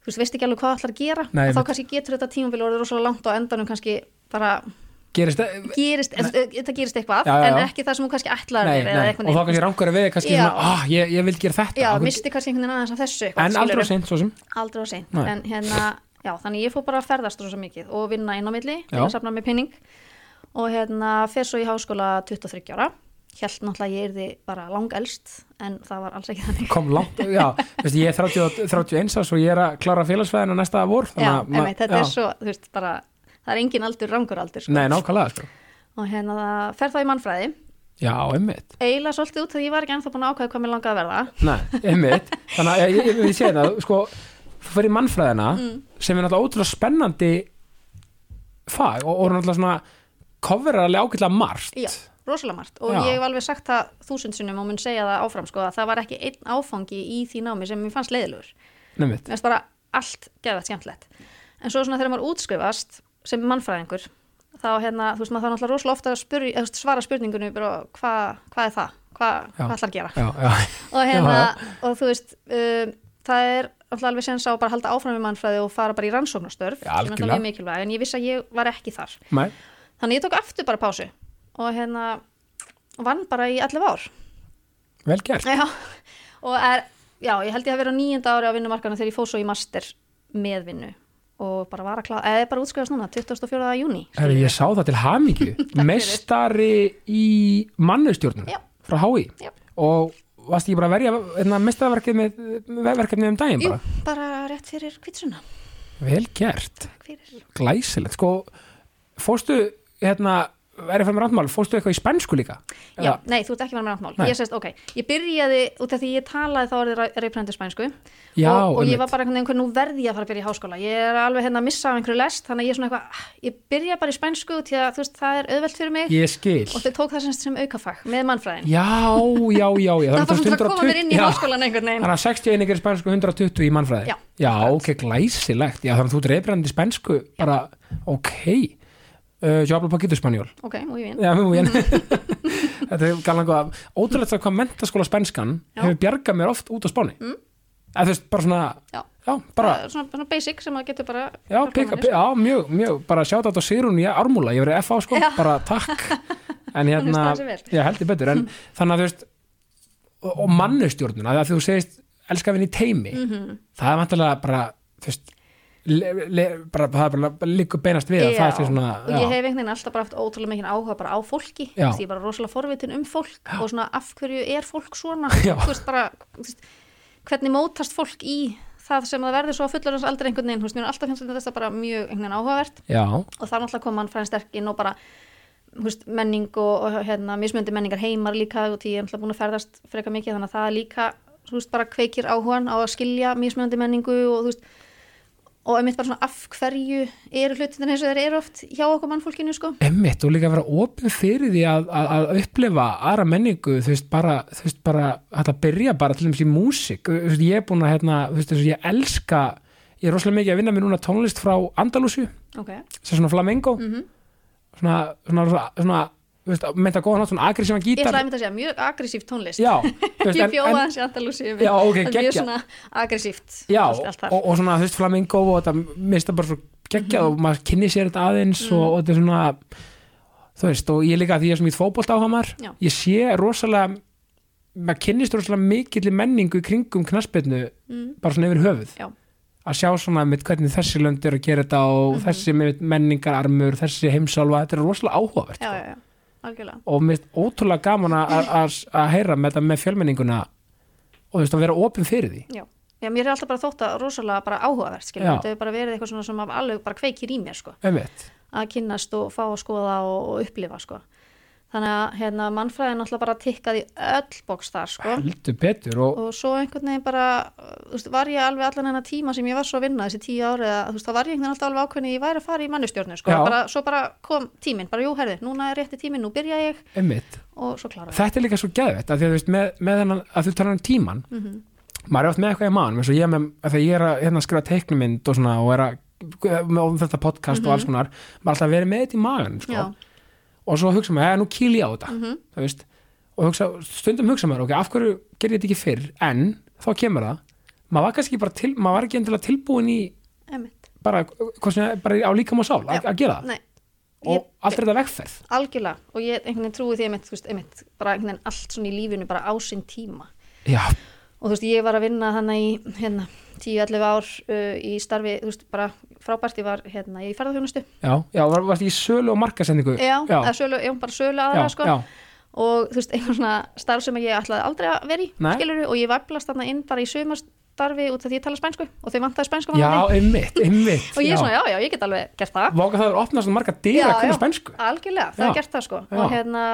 þú veist, veist ekki alveg hvað þú ætlar að gera
Nei,
og þá
einmitt.
kannski getur þetta tímabili orðið rosalega langt og á endanum kannski bara
gerist e- það
gerist, en, þetta gerist eitthvað
Já, já, já.
en ekki það sem þú kannski ætlar
nei,
þér eða
nei,
einhvern
og þá
veginn.
kannski rangur að veið kannski
Já.
svona, ah, ég, ég vil gera þetta
já,
Akkur-
misti kannski einhvern veginn aðeins af þessu
en
skilurðu.
aldrei sent svo sem
aldrei á seint
Nei.
en hérna, já, þannig ég fór bara að ferðast rosa mikið og vinna inn á milli til
Já.
að safna með pinning og hérna, fer svo í háskóla 23 ára held náttúrulega að ég yrði bara langelst en það var alls ekki þannig
kom langt, já, veist, ég er 30, og- 31 árs og ég er að klára félagsfæðina næsta vor
Já,
að ma-
emi,
já.
þetta er svo, þú veist, bara það er engin aldur rangur aldur sko.
nei, nákvæmlega, sko.
og hérna það fer það í mannfræði
já, einmitt
eiginlega svolítið út þegar ég var ekki ennþá búin að ákvæða hvað mér langaði að verða
Nei, einmitt Þannig að ég, ég, ég sé það, sko þú fyrir mannfræðina
Mm.
sem er náttúrulega ótrúlega spennandi fag og, og er náttúrulega svona coverar alveg ágætlega margt
Já, rosalega margt og
Já.
ég hef alveg sagt það þúsundsunum og mun segja það áfram sko að það var ekki einn áfangi í því námi sem mér fannst leiðilegur
Nefnitt,
mér finnst bara allt geðvægt skemmtilegt en svo svona þegar maður útskrifast sem mannfræðingur þá hérna, þú veist, maður þarf náttúrulega rosalega ofta að spurri, eða, þú veist, svara spurningunni bara, hva, hvað er það, hvað
Já.
hva ætlar að gera
já, já,
og, hérna,
Já,
og þú veist um, það er alltaf alveg sens á að bara halda áfram í mannfræði og fara bara í
Já,
rannsóknarstörf sem er
algjörlega.
alltaf mjög mikilvæg en ég vissi að ég var ekki þar
mæ,
þannig ég tók aftur bara pásu og hérna og vann bara í 11 ár
vel gert
já, og er, já, ég held ég að vera á nýjunda ári á vinnumarkana þegar ég fóð svo í master með vinnu og bara var að klára, eða bara útskrifast núna 24. júni
Herri, ég sá það til
[LAUGHS]
hamingju Mestari í mannustjórnum
Já.
frá HÍ
Já.
og varst ekki bara að verja hérna, mestaraverkefni verkefni um daginn
Jú,
bara
bara rétt fyrir kvitsuna
Vel gert,
fyrir.
glæsilegt sko, fórstu hérna, er ég fyrir mér randmál, fórstu eitthvað í spænsku líka?
Já,
Eða-
nei, þú ert ekki verið með náttmál
Nei.
ég, sest, okay. ég byrjaði, út af því ég talaði þá orðið reyprendi spænsku
Já,
og, og ég
einmitt.
var bara einhvern veginn, nú verði ég að fara að byrja í háskóla ég er alveg hérna að missa af einhverju lest þannig að ég er svona eitthvað, ah, ég byrja bara í spænsku því að þú veist, það er auðvelt fyrir mig
Ég skil
og þau tók það sem, sem aukafag með mannfræðin
Já, já, já,
[LAUGHS]
já
það var svona til að koma mér inn í
já.
háskólan einhvern veginn
Þannig að 60 einingar í spænsku 120 í mannfræði
Já.
ok, glæsilegt Já, þannig að þú dreifrandi spænsku bara, ok uh, Yo hablo poquito español
ok, múi vinn,
Já, mjög bien [LAUGHS] Þetta er galan hvað Ótrúlegt það hvað mentaskóla spænskan
Já.
hefur bjargað mér oft út á spáni mm. Eða þú veist, bara svona
Já.
já bara
Það er svona, svona basic sem maður getur bara
Já,
hjálpað
pika,
manni, sko.
pika, já, mjög, mjög, bara sjátt átt á Sýrún í Ármúla, ég verið FA sko,
Já.
bara takk, en
[LAUGHS] Hún
hérna,
er staðið sig vel.
ég heldur betur,
[LAUGHS]
en þannig að þú veist, og, og mannustjórnuna, að því að þú segist, elska vinn í teimi,
Mhm.
það er vantilega bara, þú veist, le, le, bara, það er bara líku beinast við, að það er því svona,
og ég hef einhvern veginn alltaf bara haft ótrúlega mikinn áhuga bara á fólki,
Já.
því ég er bara rosalega forvitin um fólk og svona af hverju er fólk svona
[LAUGHS] Já.
þú veist bara þú veist, hvernig mótast fólk í það sem það verður svo að fullur hans aldrei einhvern veginn, þú veist, mér er alltaf finnst þetta bara mjög einhvern veginn áhugavert
já,
og það er náttúrulega kom mann fræðin sterk inn og bara þú veist, menning og, og hérna, mismöndi menningar heimar líka og því ég er náttúrulega búin að ferðast freka mikið þannig að það líka þú veist, bara kveikir áhugan á að skilja mismöndi menningu og þú veist og einmitt bara svona af hverju eru hlutin eins og þeir eru oft hjá okkur mannfólkinu sko.
emmitt og líka að vera opin fyrir því að, að, að upplifa aðra menningu, þú veist, bara, þú veist, bara hægt að byrja bara til þess í músík, þú veist, ég er búin að, hérna, þú veist, eins og ég elska, ég er rosalega mikið að vinna mér núna tónlist frá Andalúsju,
ok,
sem svona flamengo
Mhm.
svona, svona, svona, svona þú veist, mynda góðan átt svona agressívan
ég ætla
gítar
að mynda að segja mjög aggressív tónlist
já,
[LAUGHS]
þú veist,
ég
en,
bjóða
en,
hans í Andalúsi yfir,
Já, ok,
en
geggjað.
mjög svona aggressíft
já
allt þar. Mhm.
og, og svona þú veist flamengo og þetta mista bara svo geggjað og maður kynni sér þetta aðeins og, og þetta er svona þú veist og ég líka því ég er sem ég fótbolt áhamar
Já.
ég sé rosalega maður kynnist rosalega mikill menningu í kringum knaspirnu bara svona yfir höfuð
Mhm. Já.
að sjá svona með hvernig þessi lönd eru að gera þetta og
Mhm.
þessi með menningararmur þessi heimsálfa, þetta er rosalega áhugavert
já, já, já, algjörlega
og mér finnst ótrúlega gaman að- að að- að heyra með þetta með fjölmenninguna og þú veist að vera opin fyrir því
já. já, mér er alltaf bara þótt að rosalega bara áhugavert skilja,
Já.
þetta hefur bara verið eitthvað svona sem að alveg bara kveikir í mér sko,
einmitt,
að kynnast og fá að skoða og, og upplifa sko þannig að hérna, mannfræðin alltaf bara tikkaði öll bóks þar sko
heldur betur og,
og svo einhvern veginn bara þú veist, var ég alveg allan hennar tíma sem ég var svo að vinna þessi tíu árið að þú veist, þá var ég einhvern veginn alltaf alveg ákveðin að ég væri að fara í mannustjórnu sko.
Já.
bara, svo bara kom tíminn, bara jú herði núna er rétti tíminn, nú byrja ég
einmitt
og svo klára ég
þetta er líka svo geðvett að, því að, þú veist, með, með hennan, að þú talar um tíman
Mhm.
maður er oft með eitthvað í mann eins og ég er með, að þegar ég er að hérna, skrifa teiknumynd og svona og er að með þetta podcast og alls konar maður er alltaf að vera með þetta í magan sko.
Mhm. Já, Mhm.
og svo hugsa maður, "Jæja, nú kýl ég á þetta þú veist, og hugsa, stundum hugsa maður ok, af hverju gerir þetta ekki fyrr en þá kemur það, maður var kannski bara til, maður var ekki endilega tilbúin í
emmitt
bara, hvað sem er, bara á líkam og sál að,
Já.
að gera það
Nei,
og
ég-
allt er þetta vegferð
algjörlega og ég einhvern veginn trúi því einmitt, þú veist, einmitt bara einhvern veginn allt svona í lífinu bara á sinn tíma
já,
og þú veist ég var að vinna þannig í hérna, 10-11 ár uh, í starfi þú veist bara frábært ég var hérna í ferðarþjónustu
já, já var, varst í sölu og markasendingu
já, eða
já,
sölu, já, bara sölu
já,
aðra sko
já,
og þú veist einhvern svona starf sem ég ætlaði aldrei að vera í
Nei.
skilur og ég væflast þarna inn bara í sömarstarfi út af því ég tala spænsku og þau vantaði spænsku
já,
varðandi.
einmitt, einmitt
og ég er svona já, já, ég get alveg gert það
Váka það er opnað svona marga dyra hvernig spænsku
algjörlega, það
Já.
er gert það sko
Já.
og hérna,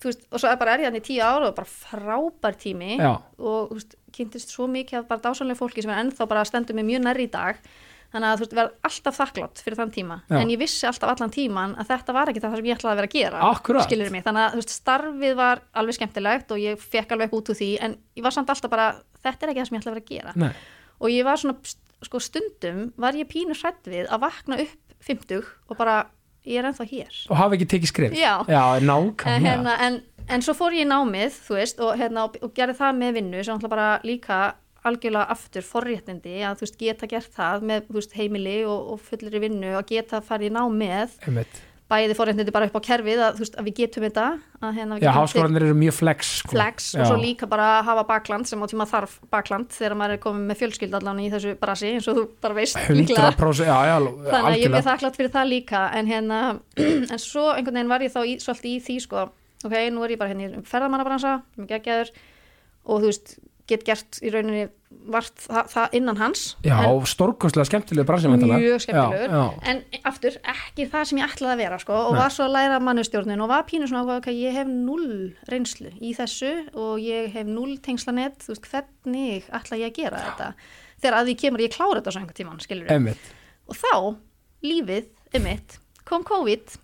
þú veist, og svo er bara er ég hann í tíu ára og bara frábær tími
Já.
og þú veist, kynntist svo mikið af bara dásanlega fólki sem er ennþá bara stendur mig mjög nærri í dag þannig að þú veist, verð alltaf þakklátt fyrir þann tíma
Já.
en ég vissi alltaf allan tíman að þetta var ekki það sem ég ætlaði að vera að gera
Akkúrat.
skilurðu mig, þannig að þú veist, starfið var alveg skemmtilegt og ég fekk alveg eitthvað út úr því en ég var samt alltaf bara, þetta er ekki það sem ég ætlaði að vera að gera
Nei,
og ég var svona, sko stundum var ég pínu hrætt við að vakna upp 50 og bara, ég er ennþá hér
og hafa ekki tekið skrif
Já.
já nákvæmlega
en, hérna, en en svo fór ég í námið, þú veist, og, hérna, og, og gerði það með vinnu sem náttúrulega bara líka algjörlega aftur forréttindi að þú veist geta gert það með þú veist, heimili og, og fullri vinnu og geta farið í námið
einmitt.
bæði forréttindi bara upp á kerfið að, þú veist, að við getum þetta að, hérna, við
Já,
getum tekið
háskólanir eru mjög flex sko.
flex
Já.
og svo líka bara að hafa bakland sem á tíma þarf bakland þegar maður er komið með fjölskyld allan í þessu brasi eins og þú bara veist líklega
100% já, já, algjörlega
þannig að ég er mjög þakklátt fyrir það líka en hérna, [CLEARS THROAT] en svo einhvern veginn var ég þá í, svolítið í því sko, ok, nú er ég bara hérna í ferðamannabransa, sem er geggjaður og þú veist, get gert í rauninni vart það, það innan hans
Já,
en,
stórkostlega skemmtilega bransi væntanlega.
mjög skemmtilegur
já,
en aftur, ekki það sem ég ætlaði að vera sko, og
Nei.
var svo að læra mannustjórnin og var pínu svona ákvað, ok, ég hef null reynslu í þessu og ég hef null tengslanet, þú veist, hvernig ætla ég að gera þetta, þegar að því kemur ég klára þetta svo einhvern tímann, skilur
já, einmitt
og þá, lífið, um mitt kom COVID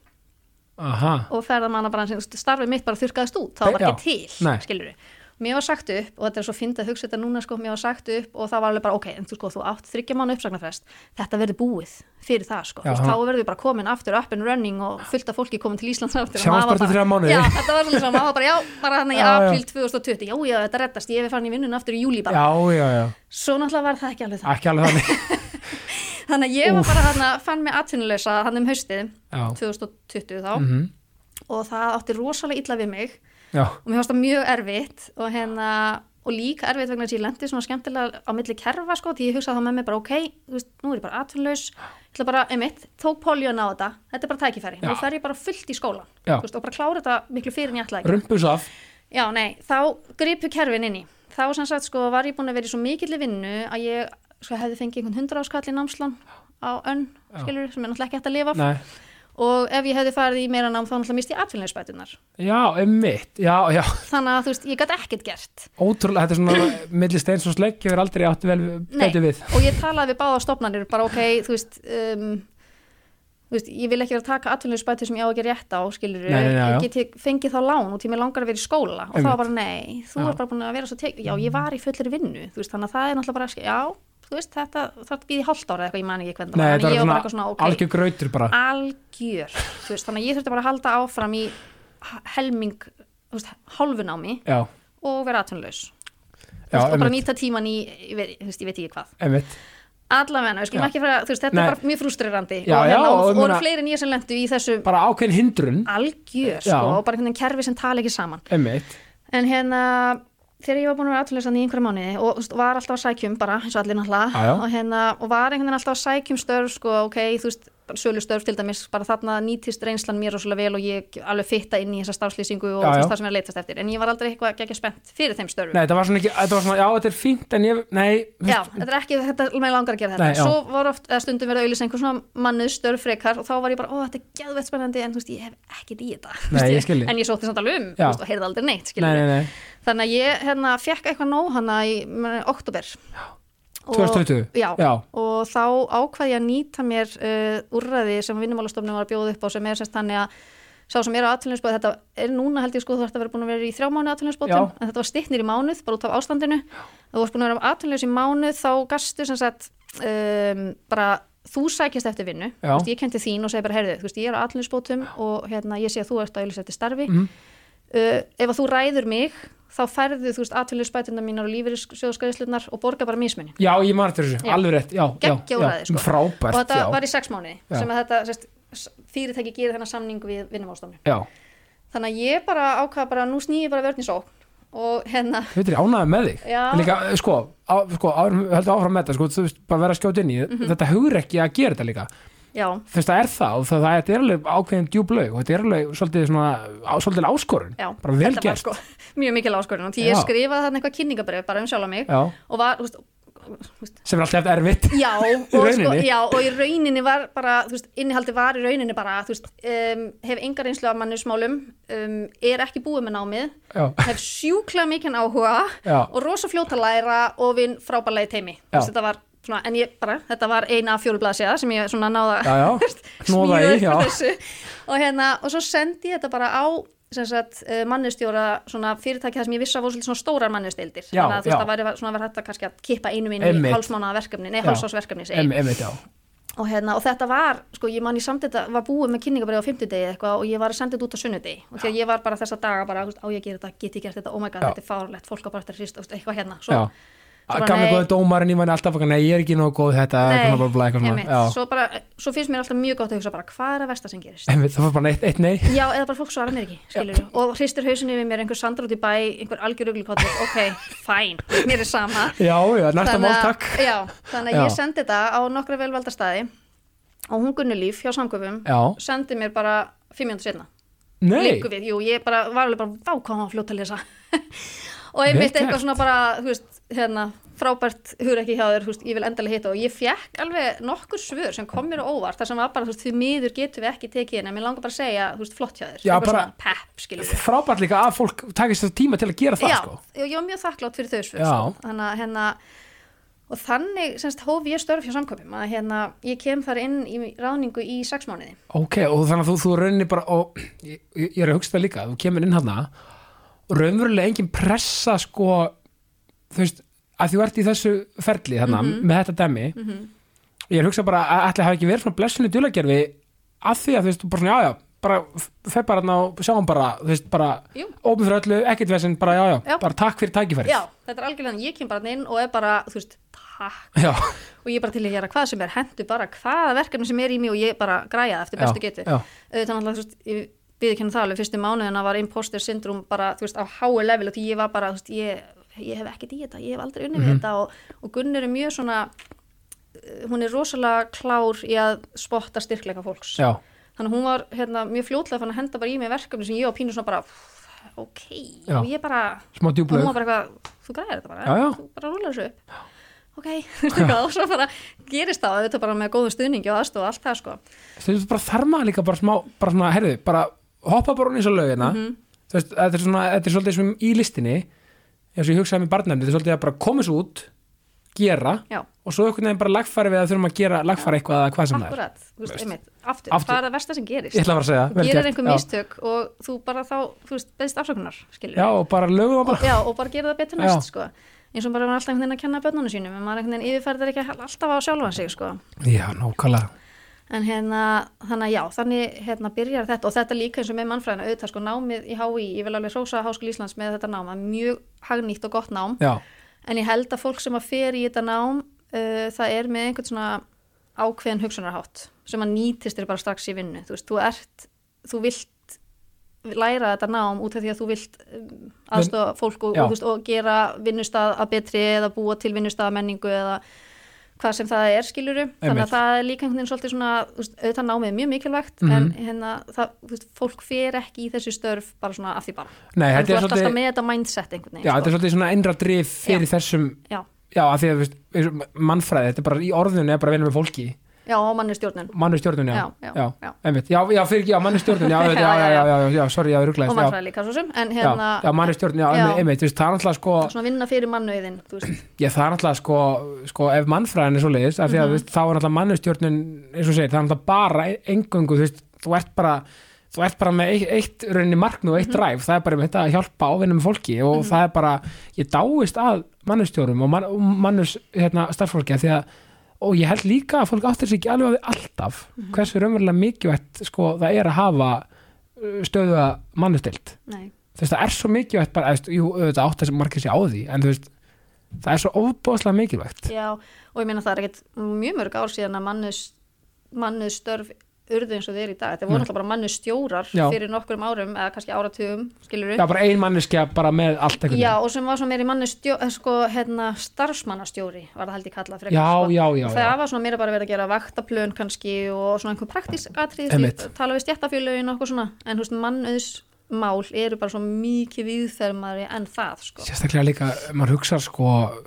Aha,
og ferðamannabransin starfið mitt bara þurrkaðist út, það var
Já.
ekki til
Nei.
skilur við, mér var sagt upp og þetta er svo fyndið að hugsa þetta núna sko, mér var sagt upp og það var alveg bara ok, en þú sko, þú átt þryggja mánu uppsagnarfrest, þetta verður búið fyrir það sko,
Já,
Þú veist,
ha.
þá verður við bara komin aftur up and running og fullt af fólki komin til Íslands aftur og
Sjáumst
maður var
bara eftir þrjá mánuði.
já, þetta var svolítið svona, maður var bara, já, bara hann í
Já, já.
apríl 2020, já, já, þetta reddast, ég er fann í vinnun aftur í júli bara,
já, já, já
svo náttúrulega var það ekki alveg það
Ekki alveg þannig [LAUGHS]
þannig að ég var bara hann fann mig atvinnuleysa hann um haustið
Já,
2020 þá
mhm,
og það átti rosalega illa við mig
já,
og mér fannst það mjög erfitt og, hérna, og líka erfitt vegna þess að ég lendi svona skemmtilega á milli kerfa sko því ég hugsaði þá með mér bara ok, þú veist, nú er ég bara atvinnlaus ég ætla bara, einmitt, tók poljón á þetta þetta er bara tækifæri,
Já.
nú fer ég bara fullt í skólan
Já.
þú veist, og bara klára þetta miklu fyrir en ég ætlaði
rumpus af
Já, nei, þá gripu kerfin inn í. Þá sem sagt, sko, var ég búin að vera í svo mikilli vinnu að ég sko, hefði fengið einhvern hundra áskall í námslán á önn,
Já.
skilur, sem er náttúrulega ekki hægt að lifa af.
Nei,
Og ef ég hefði farið í meira nám, þá náttúrulega misti ég atvinnleysbætunar.
já, einmitt Já, já,
Þannig að, þú veist, ég gæti ekkert gert.
ótrúlega Þetta er svona
[CLEARS THROAT]
milli steins og slegg Ég verð aldrei átt vel
Nei,
betur við
og ég talaði við báða stofnanir, bara ok, þú veist, um, þú veist, ég vil ekki vera að taka atvinnleysbætur sem ég á ekki rétt á, skilur,
Nei, nei, nei, já.
get ég fengið þá lán út í mig langar að vera í skóla og þá
Einmitt.
var bara nei, þú
Já.
er bara búin að vera svo tek, já, ég var í fullri vinnu, þú veist, þannig að það er náttúrulega bara, sk- já, þú veist, þetta þarf að býði hálft ára eitthvað, ég man ekki hvernig
Nei,
var,
þetta
en
er
ég var
svona,
bara eitthvað svona, ok, Ah.
algjör grautur bara
algjör, þú veist, þannig að ég þurfti bara að halda áfram í h- helming, þú veist, hálfunámi
Já,
og vera atvinnlaus
já,
og bara
einmitt,
nýta tíman í, ég veit, þú veist, ég veit ekki hvað
einmitt
allavega, við skulum
Já.
ekki fara, þú veist, þetta
Nei.
er bara mjög frústrirandi
Já,
og,
já,
hérna,
og ég
og, og
meina-
voru fleiri en ég sem lendu í þessu
Bara ákveðin hindrun, Já.
algjör, sko, og bara einhvern veginn kerfi sem tala ekki saman
einmitt
en hérna þegar ég var búin að vera aðtunleysan í einhverja mánuði og þú veist, var alltaf að sækjum bara, eins og allir
Já, já.
náttúrulega og, hérna, og var einhvern veginn alltaf að sækjum störf sko, ok, þú veist, sölu störf til dæmis bara þarna nýtist reynslan mér rosalega vel og ég alveg fitta inn í þessa starfslýsingu og
Já, já.
þú veist, það sem er að leitast eftir en ég var aldrei eitthvað ekki spennt fyrir þeim störfum
Nei, þetta var svona ekki, þetta var svona, já, þetta er fínt En ég, nei, þú
Já,
veist,
þetta er ekki, þetta er mér langar að gera þetta
Nei, já.
Svo var oft, eða stundum verið að auðlýsa einhver svona mannuð störf frekar og þá var ég bara, ó, þetta er geðveitt spennandi en þú veist, ég hef ekkert í þetta Þú veist,
ég skil þig.
En ég sótti samt alveg um,
Já.
þú veist, og heyrði aldrei neitt, skilur
nei, nei, nei
Þannig að ég, hérna, fekk eitthvað nóg hana í meni, oktober Já,
2020?
Já,
Já.
og þá ákvað ég að nýta mér uh, úrræði sem vinnumálastofnum var að bjóða upp á sem er sérst þannig að sá sem er á atvinnuleysbóð, þetta er núna held ég sko þú ert að vera búin að vera í þrjá mánu atvinnuleysbótum
Já.
en þetta var stittnir í mánuð, bara út af ástandinu þú varst búin að vera atvinnuleys í mánuð þá gastu sem sagt um, bara þú sækist eftir vinnu
Já.
Þú veist, ég kendi þín og segi bara heyrðu, þú veist, ég er á atvinnuleysbótum og hérna, ég sé að þú ert að auðvitað eftir starfi
Mhm.
uh, ef að þú ræður mig þá færðu þú veist atvinnuleysbætuna mínar og lífeyrissjóðskæðislunar og borga bara mismunni
Já, ég marði þessu,
Já.
alveg rétt, já, já,
Geggjað
já,
úrræði, sko.
frábært,
og þetta
já,
var í sex mánuði
Já.
sem að þetta sest, fyrirtæki gerir þennan samning við vinnumálstofnum
já,
þannig að ég bara ákvaða bara nú snýði bara vörn í sókn og hérna
við erum ánægði með þig,
Já.
En líka, sko, á, sko, áður, heldur áfram með þetta, sko, þú veist, bara vera að skjóta inn í,
Mhm.
þetta hugur ekki að gera þetta líka,
já,
þú veist, það er það, og það, það er alveg ákveðin djúblaug, og þetta er alveg svolítið svona, á, svolítið áskorun,
já,
bara vel
þetta var
gert,
sko [LAUGHS] mjög mikil áskorun og því ég
Já.
skrifaði þarna eitthvað kynningabrif bara um sjálf mig
já,
og var, þú veist, þú veist
sem er alltaf erfitt, [LAUGHS]
Já og, sko,
rauninni?
já, og í rauninni var bara, þú veist, innihaldi var í rauninni bara, þú veist, um, hef engar einslu af mannusmálum, um, er ekki búið með námið,
já,
hef sjúkla mikinn áhuga
já,
og rosa fljóta læra og vinn frábærlega í teimi Þú veist, þetta var svona, en ég bara, þetta var eina fjólublasja sem ég svona náða
já, já, snóða
[LAUGHS] smíða
í, já,
upp úr þessu og hérna, og svo sendi ég þetta bara á sem sagt, eh, mannustjóra svona fyrirtæki það sem ég vissi að voru svolítið svona stórar mannustildir
Já,
þannig að þú veist
já.
að væri svona var hægt að kannski að kippa einum inn
Einmitt.
í hálfsmánaða verkefni, nei
Já.
hálfsásverkefni segi ég
em, em, já,
og, hérna, og þetta var, sko, ég man ég samt þetta var búið með kynningabrið á fimmtudegi eitthvað og ég var að senda þetta út á sunnudegi og því að ég var bara þessa daga bara, þú veist, á ég að gera þetta, get ég gert þetta, oh my god,
Já.
þetta er fárlegt, fólk á bara eftir að hrista, þú veist, eitthvað hérna svo,
já. Ah,
bara,
Gamlega
nei.
góða dómarinn, ég væri alltaf að nei, ég er ekki nóg góð þetta, eitthvað bla, bla, eitthvað
einmitt.
svona. Já.
svo, bara, svo finnst mér alltaf mjög gott að hugsa bara, hvað er að versta sem gerist
Einmitt, Það var bara eitt, eitt nei.
já, eða bara fólk svara mér ekki, skilur og hristir hausinni við mér, einhver sandar út í bæ einhver algjöruglikottur, ok, fæn mér er sama
Já, já, næsta mál,
Þannig að-
takk.
já, þannig að
Já.
ég sendi þetta á nokkra velvalda staði og hún Gunnulíf hjá samköpum
Já.
sendi mér bara fimm mjöndur setna
Nei,
líku við, jú, ég bara var alveg bara vákáma fljótt að lesa [LAUGHS] og ég
Vel
veit
gert.
eitthvað svona bara, þú veist, hérna frábært hugur ekki hjá þér, þú veist, ég vil endalega hitta og ég fekk alveg nokkur svör sem kom mér á óvart, þar sem var bara, þú veist, því miður getum við ekki tekið hérna, mér langar bara að segja, þú veist, flott hjá þér
Já,
Eitthvað
bara-
svona pepp, skilur við
frábært líka að fólk takist þetta tíma til að gera það,
já,
sko.
já, ég var mjög þakklátt fyrir þau svör
Já.
sko. þannig að hérna og þannig semst hóf ég störf hjá samköpum að hérna ég kem þar inn í ráningu í sex mánuði
Ok, og þannig að þú, þú raunir bara, og ég, ég er að hugsa það líka, þú kemur inn hana og raunverulega engin pressa, sko, þú veist, að þú ert í þessu ferli þarna,
Mhm.
með þetta dæmi, ég er að hugsa bara að ætli hafi ekki verið svona blessinu djúlagerfi að því að þú veist, þú bara svona, já, já, bara þeir bara hérna og sjáum bara, þú veist, bara
Jú.
opið fyrir öllu, ekkert vesinn, bara já, já,
Já.
bara takk fyrir tækifærið.
já, þetta er algjörlega, þannig. ég kem bara þarna inn og er bara, þú veist, takk
Já,
og ég er bara til að gera hvað sem er, hendu bara hvaða verkefni sem er í mig og ég bara græja það eftir
Já,
bestu getu
já.
auðvitað náttúrulega, þú veist, ég viðurkenna það alveg fyrstu mánuðina var imposter syndrom bara, þú veist, á háu level og því ég var bara, þú veist, ég, ég hef ekkert í þetta, ég hef aldrei unni
Mhm.
við þetta og, og Gunnur er mjög svona eh, hún er rosalega klár í að spotta styrkleika fólks
já,
þannig að hún var hérna, mjög fljótlega fann að henda bara í mig verkefni sem ég var pínu svona bara ok,
Já.
og ég bara
smá
og hún
djúblaug.
var bara eitthvað, þú græðir þetta bara
Já, já.
þú bara rúlar þessu upp ok, [LAUGHS] þú veist eitthvað, og svo bara gerist það þetta bara með góðum stuðningi og aðstof og allt það sko.
Stundum bara þarf maður líka bara smá, bara svona, heyrðu, bara hoppa bara hún eins og lögina, hérna.
Mhm.
þú veist, þetta er svona, þetta er svolítið sem í listinni, eins og ég hugsaði með barnæmni, þetta er svolítið að bara koma svo út, gera,
já,
og svo einhvern veginn bara lagfæri við að þurfum að gera, lagfæri eitthvað eða hvað sem það er.
akkurat þú veist,
Veist.
einmitt, aftur,
Aftur.
það er það versta sem gerist
Ég ætla bara að segja,
þú
vel
gerir
gert,
einhver
já.
mistök og þú bara þá, þú veist, beðist afsökunar skilur
Já, og bara lögum það bara.
og, já, og bara gera það betur næst
Já.
sko. eins og bara var alltaf einhvern veginn að kenna börnunum sínum en maður einhvern veginn yfirferðar ekki alltaf á sjálfan sig sko.
Já, nákvæmlega.
en hérna, þannig að já, þannig hérna byrjar þetta og þetta líka eins og með mannfræðina auðvitað sko námið í HÍ, ég vil alveg hrósa Háskóli Íslands með þetta nám, það er mjög hagnýtt og gott nám,
Já,
en ég held að fólk sem að fer í þetta nám, uh, það er með einhvern svona ákveðin hugsunarhátt sem að nýtist þér bara strax í vinnu þú veist, þú ert, þú vilt læra þetta nám út af því að þú vilt um, aðstofa fólk og,
Já.
og, þú veist, og gera vinnustað að betri eða búa til vinnustað menningu eða hvað sem það er skiluru þannig
Einmitt.
að það er líka einhvern veginn svolítið svona þú veist, auðvitað námið er mjög mikilvægt
Mhm.
en hérna, það, þú veist, fólk fer ekki í þessi störf bara svona af því bara
Nei,
En
þetta
þú
er
ert
svolítið-
alltaf með þetta mindset einhvern veginn
já
sko.
þetta er svolítið svona einra drif fyrir þessum,
já,
já, að því að, veist, eins og mannfræði, þetta er bara í orðunni, er bara að vinna með fólki.
já, og manni stjórnin
mannustjórnun, já,
Já, já,
já,
já.
einmitt, já, já, fyrir ekki, já, mannustjórnun,
[LAUGHS]
já, einmitt, já, já, já, já, já, já, sorry, já,
og
rugglaðist, já,
mannfræði líka svo sem en
já,
hérna,
já, mannustjórnun, já,
Já.
einmitt, einmitt, þú veist, það er náttúrulega sko,
svona vinna fyrir mannauðin þú
[CLEARS THROAT]
veist,
ég, það er náttúrulega sko, sko, ef mannfræðin er svo leiðist, af því að, þú veist, þá er náttúrulega mannustjórnun, eins og segir, það er náttúrulega bara engungu, þú veist, þú ert bara, þú ert bara með eitt, eitt rauninni markmið og eitt ræf, það er bara með þetta að hjálpa ávinna með fólki og það er bara, ég dáist að mannustjórum og, man, og mannus, hérna, starffólki, af því að og ég held líka að fólk áttir sig ekki alveg á því alltaf hversu raunverulega mikilvægt sko, það er að hafa uh, stöðuða mannustilt
nei,
þú veist það er svo mikilvægt bara, eða, þú veist, jú, auðvitað áttir sem margir sér á því en þú veist, það er svo óbóðslega mikilvægt
já og ég meina það er ekkert mjög mörg ár síðan að mannuð mannuð störf urðu eins og þeir í dag, þetta voru alltaf bara mannuð stjórar
Já.
fyrir nokkurum árum eða kannski áratugum, skilur
Já, bara ein manneskja bara með allt einhvern
Já,
veginn.
og sem var svona meiri manni stjó, eh, sko, hérna, starfsmannastjóri var það held ég kallað frekar
Já,
sko.
já, já,
það
já.
var svona meira bara verið að gera vaktaplön kannski og svona einhver praktísatrið
Einmitt.
tala við stjættafélögin og okkur svona en þú veist, mannauðsmál eru bara svo mikið viðfermari en það sko.
sérstaklega líka, ef maður hugsa sko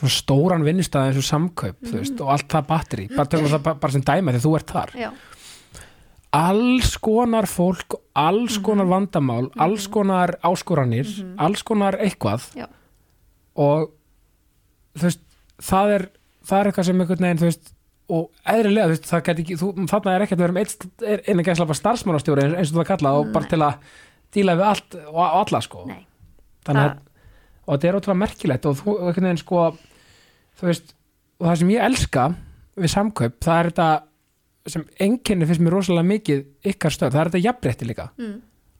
svona stóran vinnustæð eins og samkaup
Mhm.
þú veist, og allt það batteri bara tökum það bara- bara sem dæma þegar þú ert þar
Já,
alls konar fólk alls konar vandamál, alls konar áskoranir, alls konar eitthvað
já,
og þú veist, það er það er eitthvað sem einhvern veginn, þú veist og eðrilega, þú veist, það gæti ekki þú, þarna er ekki að vera um eitt, er einn að gæsla bara starfsmánastjóri eins, eins og það kallað og bara til að díla við allt og, og alla sko
nei,
þannig að, og þetta er ótrúlega merkilegt og þú, einhvern veginn sko þú veist, og það sem ég elska við samkaup, það er þetta sem enginni finnst mér rosalega mikið ykkar stöð, það er þetta jafnbretti líka
mm.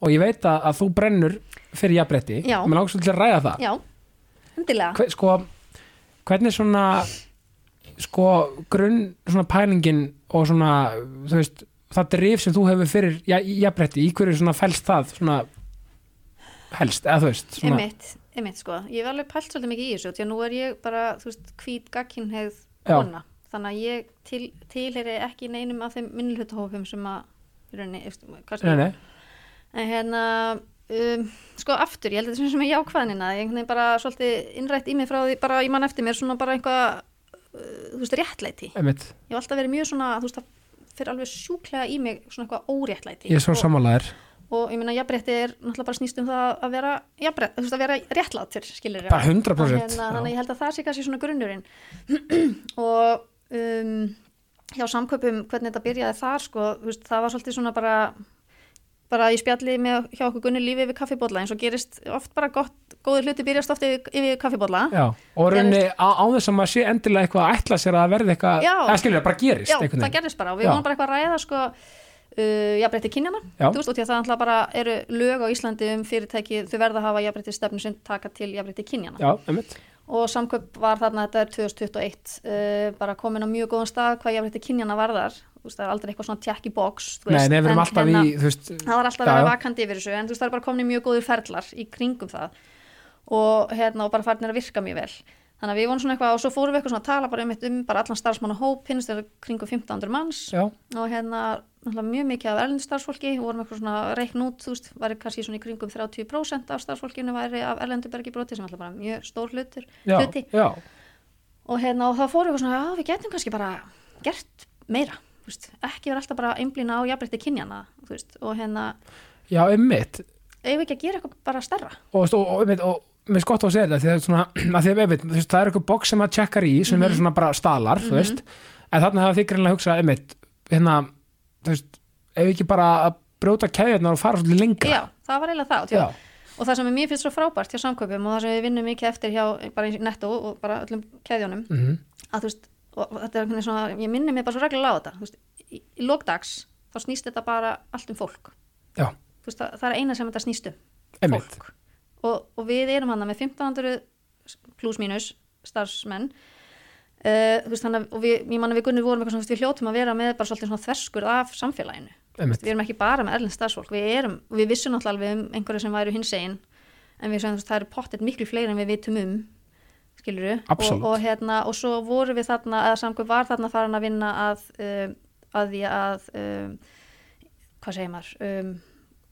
og ég veit að, að þú brennur fyrir jafnbretti,
Já.
mér langt svolítið að ræða það
já, endilega
Hver, sko, hvernig svona sko, grunn svona pælingin og svona þú veist, það drif sem þú hefur fyrir ja- jafnrétti, í hverju svona fælst það svona helst, eða þú veist svona,
einmitt, einmitt sko, ég hef alveg pælt svolítið mikið í þessu því að nú er ég bara, þú veist, hvít gagkinhegð
Já.
kona, þannig að ég til, tilheyri ekki neinum af þeim minnlutahófum sem að, í rauninni, eftir, kannski,
nei, nei,
en hérna um, sko aftur, ég held að þetta er sem er jákvæðanina ég einhvern veginn bara svolítið innrætt í mig frá því bara ég man eftir mér svona bara einhvað uh, þú veist, réttlæti
einmitt,
ég hef alltaf verið mjög svona, þú veist, það fyrir alveg sjúklega í mig svona eitthvað óréttlæti
ég er svo
og,
sammálaðir
og ég meina, jafnrétti er náttúrulega bara snýst um það að vera, jafnrétt, þú veist, að vera réttlátur skilur
bara 100%
hérna, þannig að
já,
ég held að það sé kannski svona grunnurinn [CLEARS THROAT] og um, hjá samköpum hvernig þetta byrjaði þar sko, þú veist, það var svolítið svona bara bara ég spjalli með hjá okkur gunni lífi yfir kaffibólla eins og gerist oft bara gott, góðir hluti byrjast oft yfir, yfir kaffibólla
já, og
Gerist.
raunni á, á þess að maður sé endilega eitthvað að ætla sér að verði eitthvað
Já.
eða skilur, bara gerist
já,
einhvern
það
veginn.
gerðist bara og við
Já.
vorum bara eitthvað að ræða sko, uh, jafnbreytti kynjana
Já.
þú veist, og því að það náttúrulega bara eru lög á Íslandi um fyrirtæki, þau verða að hafa jafnbreytti stefnu sem taka til jafnbreytti kynjana
já, einmitt,
og samkaup var þarna, þetta er 2021 uh, bara komin á mjög góðan stað hvað jafnrétti kynjana varðar Þú veist, það er aldrei eitthvað svona tjekk í box þú
nei, nei,
veist,
við
en
erum alltaf í
hérna-
þú veist,
það var alltaf
Já,
að vera
já.
vakandi yfir þessu en þú veist, það er bara komin í mjög góður ferlar í kringum það og, hérna, og bara farinir að virka mjög vel þannig að við vonum svona eitthvað og svo fórum við eitthvað svona að tala bara um, um bara allan starfsmann og hópinn þetta er kringum 1500 manns
já,
og hérna náttúrulega mjög mikið af erlendu starfsfólki og vorum eitthvað svona að reikna út þú veist, væri kannski svona í kringum 30% af starfsfólkinu væri af erlendu bergi broti sem alltaf bara mjög stór hlutur,
já,
hluti
já,
og hérna og þá fórum við svona, já við getum kannski bara gert meira, þú veist, ekki vera alltaf bara einblýna á jafnbreytti kynjana þú veist, og hérna,
já, einmitt
eigum við ekki að gera eitthvað bara stærra
og, og, og, einmitt, og mér er gott að segja þetta því það er svona, [CLEARS THROAT] að því, einmitt, þú veist, það er eitthvað box sem maður tjekkar í sem
Mhm.
eru svona bara stalar þú veist, en þarna hafa þið greinlega hugsað einmitt, hérna, þú veist ef ekki bara að brjóta keðjarnar og fara svolítið lengra
já, það var eiginlega það og,
Já,
og það sem er mér finnst svo frábært hjá samköpum og það sem við vinnum mikið eftir hjá bara í netto og bara öllum keðjónum
mhm,
að þú veist, og og þetta er einhvern veginn svona ég minni mig bara svo reglulega á þetta þú veist, í, í lókdags þá snýst þetta bara allt um fólk
já,
þú veist, það, það er eina sem þetta snýst um
einmitt
fólk og, og við erum hann með 1500 pluss mínus starfsmenn uh, þú veist, þannig, að- og við, ég manna við Gunnur vorum eitthvað svona, þú veist, við hljótum að vera með bara svolítið svona þverskur af samfélaginu
einmitt,
við erum ekki bara með erlend starfsfólk við, erum, og við vissum náttúrulega alveg um einhverju sem væru hins einn en við sagðum þú veist, það eru pottet miklu fleiri en við vitum um skilur og,
Absolutt.
og, hérna, og svo voru við þarna eða samkvæm var þarna farin að vinna að, um, að því að um, hvað segir maður um,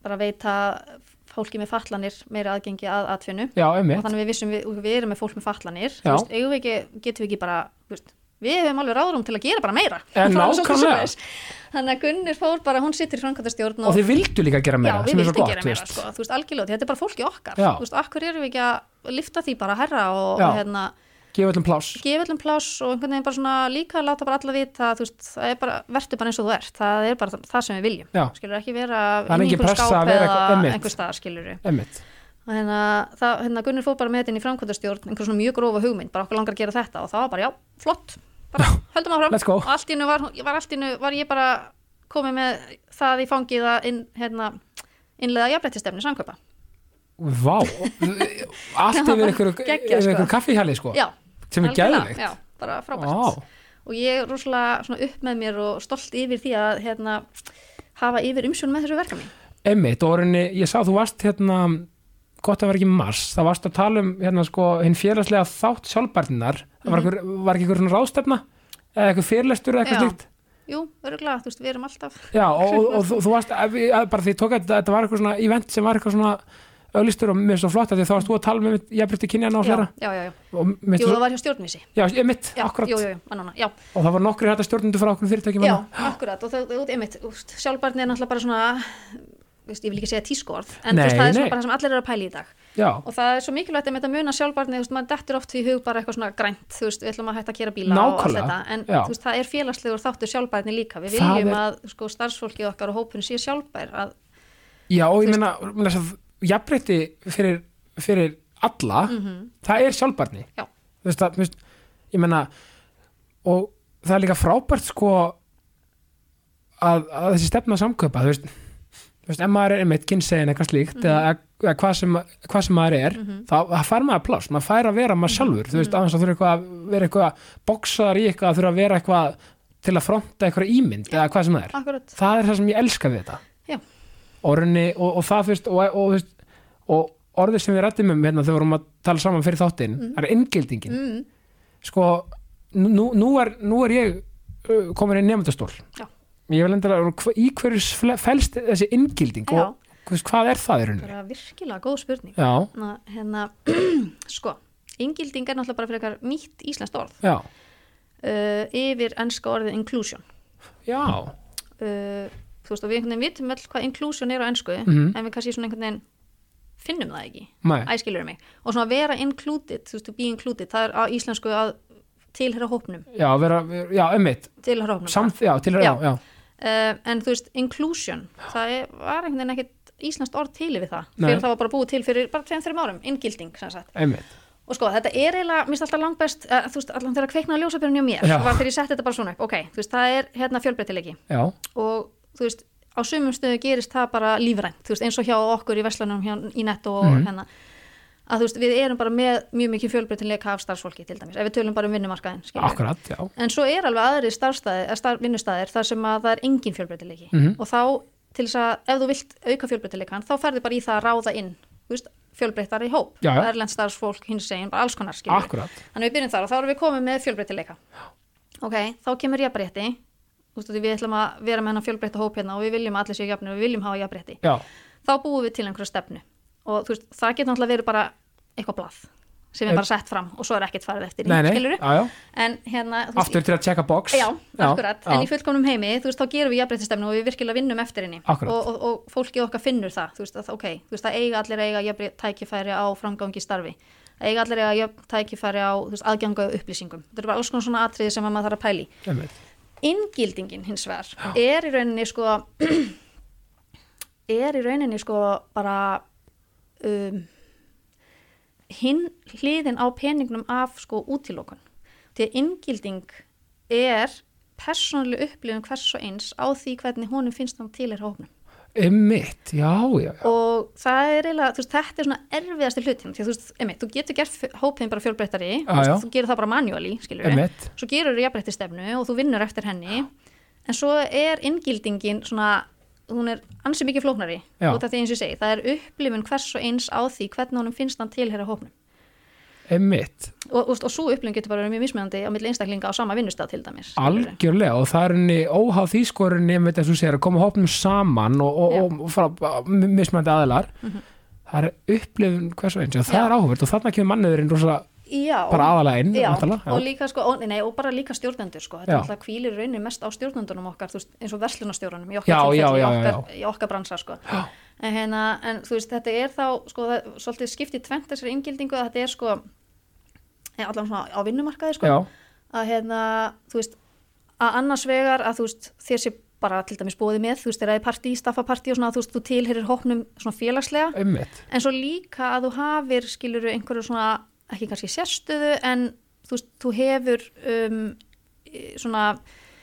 bara veita fólki með fatlanir meira aðgengi að atvinnu
já,
og
einmitt
þannig við vissum við, og við erum með fólk með fatlanir þú
Já.
veist, eigum við ekki, getum við ekki bara þú veist, við hefum alveg ráðrum til að gera bara meira [LAUGHS]
En
Það var
Eh,
svolítið
nákvæmlega.
svoleiðis. þannig að Gunnur fór bara, hún sittur í framkvæmtastjórn
og þið vildu líka gera
já,
meira,
við
sem er svo
viltum
gott
gera
þú
meira
veist.
sko, þú veist, algjörlega, því þetta er bara fólki okkar
Já.
þú veist, akkur erum við ekki að lifta því bara herra og,
Já.
og hérna,
gefa öllum pláss,
gefa öllum pláss og einhvern veginn bara svona líka láta bara alla vita, þú veist, það er bara verður bara eins og þú ert, það er bara það sem við viljum
Já.
skilur ekki vera
Það er
inni í
engin
einhverjum
pressa að
skáp
vera eitthvað-
eða
einmitt.
einhver stað skilur
einmitt
og hérna, það, hérna Gunnur fór bara með þetta inn í framkvæmdastjórn einhver svona mjög grófa hugmynd, bara okkur langar að gera þetta og það var bara, já, flott, bara höldum áfram
Let's go.
og allt í innu var, var, allt í einu var ég bara komið með það í fangið að inn, hérna, innlega jafnrættistefni samkvöpa
vá,
[LAUGHS]
allt
Það var
yfir ykkur,
geggjað,
yfir
sko.
ykkur kaffihæli sko,
já,
sem er
algjörlega,
geðvikt
já, bara frábært
Vá.
og ég er rosalega svona upp með mér og stolt yfir því að hérna, hafa yfir umsjón með þessu verkefni
Einmitt, og rauninni, ég sá þú varst hérna, gott að vera ekki mars, það varst að tala um hérna sko, hinn félagslega þátt sjálfbærtinnar, það var, einhver, var ekki einhver svona ráðstefna, eða eitthvað fyrirlestur eða eitthvað
Mhm. Já.
slíkt.
jú, örgulega, þú veist, við erum alltaf
Já, og, og, og þú, þú varst, að, að, bara því ég tók að þetta, þetta var eitthvað svona event sem var eitthvað svona ölistur og mér er svo flott að því þá varst þú að tala með jafnbrytti kynjana og
já,
flera.
já, já, já,
Og mér,
jú,
jú,
það var hjá stjórnvísi
já, einmitt,
já,
akkurat,
jú, jú, jú, annana, já
og það var nokkri hægt að stjórnundu frá okkur fyrirtækjum.
Já,
hérna.
akkurat og það er einmitt, úst, sjálfbarni er náttúrulega bara svona veist, ég vil ekki segja tískorð en
Nei,
nei, það er
nei.
svona bara það sem allir eru að pæla í dag
já,
og það er svo mikilvægt einmitt að muna sjálfbarni þú veist, maður dettur oft í hug bara eitthvað svona grænt þú veist, við ætlum að hætta að kera bíla og allt
Nákvæmlega,
þetta en
já.
þú veist, það er félagslegur þáttur sjálfbarni líka við
Það
viljum
er-
að sko, starfsfólkið okkar og hópurinn sé sjálfbær að,
já, og ég
Þú
meina, meina jafnbrytti fyrir, fyrir alla,
mm
það er sjálfbarni
Já.
þú veist það, þú veist, ég meina og það er líka frábært sko að, að þessi stefna samkaupa þú veist, þú veist, ef maður er einmitt kynsegin eitthvað slíkt
Mhm.
eða, eða hvað, sem, hvað sem maður er þá það fær maður pláss, maður fær að vera
Mhm.
maður sjálfur þú veist, aðeins að þurfa eitthvað að vera eitthvað boksaðar í eitthvað, að þurfa að vera eitthvað til að fronta eitthvað ímynd eða hvað sem það er
akkurat,
það er það sem ég elska við þetta
Já.
og, raunni, og, og það þú veist og, og, þú veist, og orðið sem við rættum um hérna, þegar við vorum að tala saman fyrir þáttinn það er inngildingin
mm,
sko, nú, nú, er, nú er ég uh, komin í nefndastól
Já.
ég vil enda að hva- í hverju sfle- felst þessi inngilding
já,
og þú veist, hvað er það í rauninni
bara virkilega góð spurning
já,
Ná, hérna, [CLEARS THROAT] sko yngilding er náttúrulega bara fyrir eitthvað nýtt íslenskt orð
já,
uh, yfir ennska orðið inclusion
já
uh, þú veist og við einhvern veginn vitum vel hvað inclusion er á ennsku
Mhm.
en við kannski svona einhvern veginn finnum það ekki,
Nei,
æskilur mig og svona vera included, þú veist, to be included það er á íslensku að tilhera hópnum
já, vera, vera- já, ömmit
tilhera hópnum
samt, já, til, já,
Já.
já,
uh, en þú veist, inclusion það er, var einhvern veginn ekkert íslenskt orð til yfir það,
Nei.
fyrir það var bara búið til fyrir bara 2-3 árum, inngilding sem sagt
ömmit
og sko, þetta er eiginlega, mér finnst alltaf langbest uh, þú veist, allan þegar kveiknaði ljósabjörnum hjá mér
Já.
var þegar ég setti þetta bara svona upp, ok, þú veist, það er hérna fjölbreytileiki
já,
og þú veist, á sumum stöðu gerist það bara lífrænt, þú veist, eins og hjá okkur í Veslanum hjá, í netto og
Mhm.
hérna að þú veist, við erum bara með mjög mikið fjölbreytileika af starfsfólki til dæmis, ef við tölum bara um vinnumarkaðin skilur við.
akkurat, já
en svo er alveg aðri starfstæði, að starf, vinnustæðir þar sem að það er engin fjölbreytileiki
Mhm.
og þá til þess að ef þú vilt auka fjölbreytileikan þá ferðu bara í það að ráða inn þú veist, fjölbreyttari hóp,
Já, já.
erlend starfsfólk hins eginn, bara alls konar skilur við.
akkurat,
Þannig við byrjum þar og þá erum við komið með fjölbreytileika. Ok, þá kemur jafnbreytti. Þú veist, við ætlum að vera með hennar fjölbreytta hóp hérna og við viljum að allir séu jafnir og við viljum hafa jafnbreytti.
já,
Þá búum við til einhverja stefnu og þú veist, það getur náttúrulega verið bara eitthvað blað sem
Eh.
er bara sett fram og svo er ekkert farið eftir
nei, nei,
skilurðu?
já, já
En hérna, þú
aftur til að checka box
Já, akkurat, en í
já,
fullkomnum heimi, þú veist, þá gerum við jafnbreyttistefnu og við virkilega vinnum eftir henni
Akkurat.
og, og, og fólkið okkar finnur það, þú veist, að, ok, þú veist, að eiga allir að eiga jafnbreytt tækifæri á framgangi í starfi, að eiga allir að eiga jafn tækifæri á þú veist, aðganga og upplýsingum, þetta er bara alls konar svona atriði sem að maður þarf að pæli.
einmitt.
Inngildingin hins vegar er í rauninni sko, [CLEARS THROAT] er í rauninni sko bara um, hinn hliðin á peningnum af sko útilokun. Því að inngilding er persónuleg upplifun hvers og eins á því hvernig honum finnst hann til er hófnum.
einmitt, já, já, já
Og það er eiginlega, þú veist, þetta er svona erfiðasti hlutin. Því að þú veist, einmitt, þú getur gert f- hópinn bara fjölbreyttari,
já.
þú veist, þú gerir það bara manually, skilur við.
einmitt,
Svo gerur þú jafnbreytti stefnu og þú vinnur eftir henni. En svo er inngildingin svona, hún er ansi mikið flóknari.
Já.
Út af því eins og ég segi, það er upplifun hvers og eins á því hvernig honum finnst hann tilhera hópnum.
einmitt
og, og, og svo upplifun getur bara verið mjög mismunandi á milli einstaklinga á sama vinnustaf til dæmis skilurðu.
Algjörlega og það er henni óháð því sko er henni einmitt eins og segir að koma hópnum saman og,
Já. Mhm.
og, og frá m- mismandi aðilar það er upplifun hvers og eins og það
Já.
er áhugvöld og þarna kemur manniðurinn rosa
já,
bara aðalega inn
já,
væntanlega,
og líka sko, og, nei, og bara líka stjórnendur sko, þetta
Já.
er alltaf kvílir raunin mest á stjórnendunum okkar, þú veist, eins og verslunastjórnunum í okkar,
Já, já, já,
tilfelli, í
já,
okkar, í okkar bransa sko. en, hérna, en þú veist, þetta er þá sko, það, svolítið skiptið tvent þessari inngildingu að þetta er sko eh, allan svona á vinnumarkaði sko,
já,
að hérna, þú veist, að annars vegar að þú veist, þér sé bara til dæmis bóði með, þú veist, þegar það er partí, staffapartí og svona, þú veist, þú tilherir hópnum svona félagslega
einmitt
en svo líka að þú hafir skiluru einhverju svona, ekki kannski sérstöðu en þú veist, þú hefur um, í- svona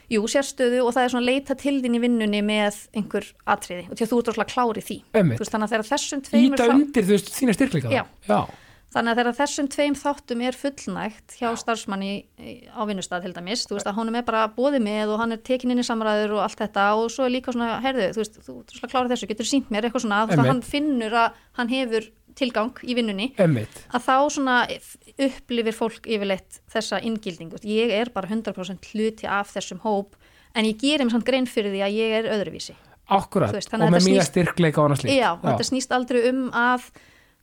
jú, sérstöðu og það er svona leita til þín í vinnunni með einhver atriði og því að þú ert rosalega klár í því
Einmitt.
Þú veist, þannig að þegar þessum tveimur
Íta
þá-
undir þú veist þína styrkleika
Já.
já,
Þannig að þegar þessum tveim þáttum er fullnægt hjá starfsmanni í- á vinnustad til dæmis, þú veist að honum er bara bóði með og hann er tekin inn í samræður og allt þetta og svo er líka svona, heyrðu, þú veist, þú ert svona klára þessu, getur sínt mér eitthvað svona, þú veist að hann
Einmitt.
finnur að hann hefur tilgang í vinnunni
einmitt
að þá svona upplifir fólk yfirleitt þessa inngildingu. Ég er bara 100% hluti af þessum hóp en ég gerir mér samt grein fyrir því að ég er öðruvísi.
akkurat
Þú veist,
og
þannig að
með
þetta
mína
snýst-
styrkleika og annars líkt
Já, þetta snýst aldrei um að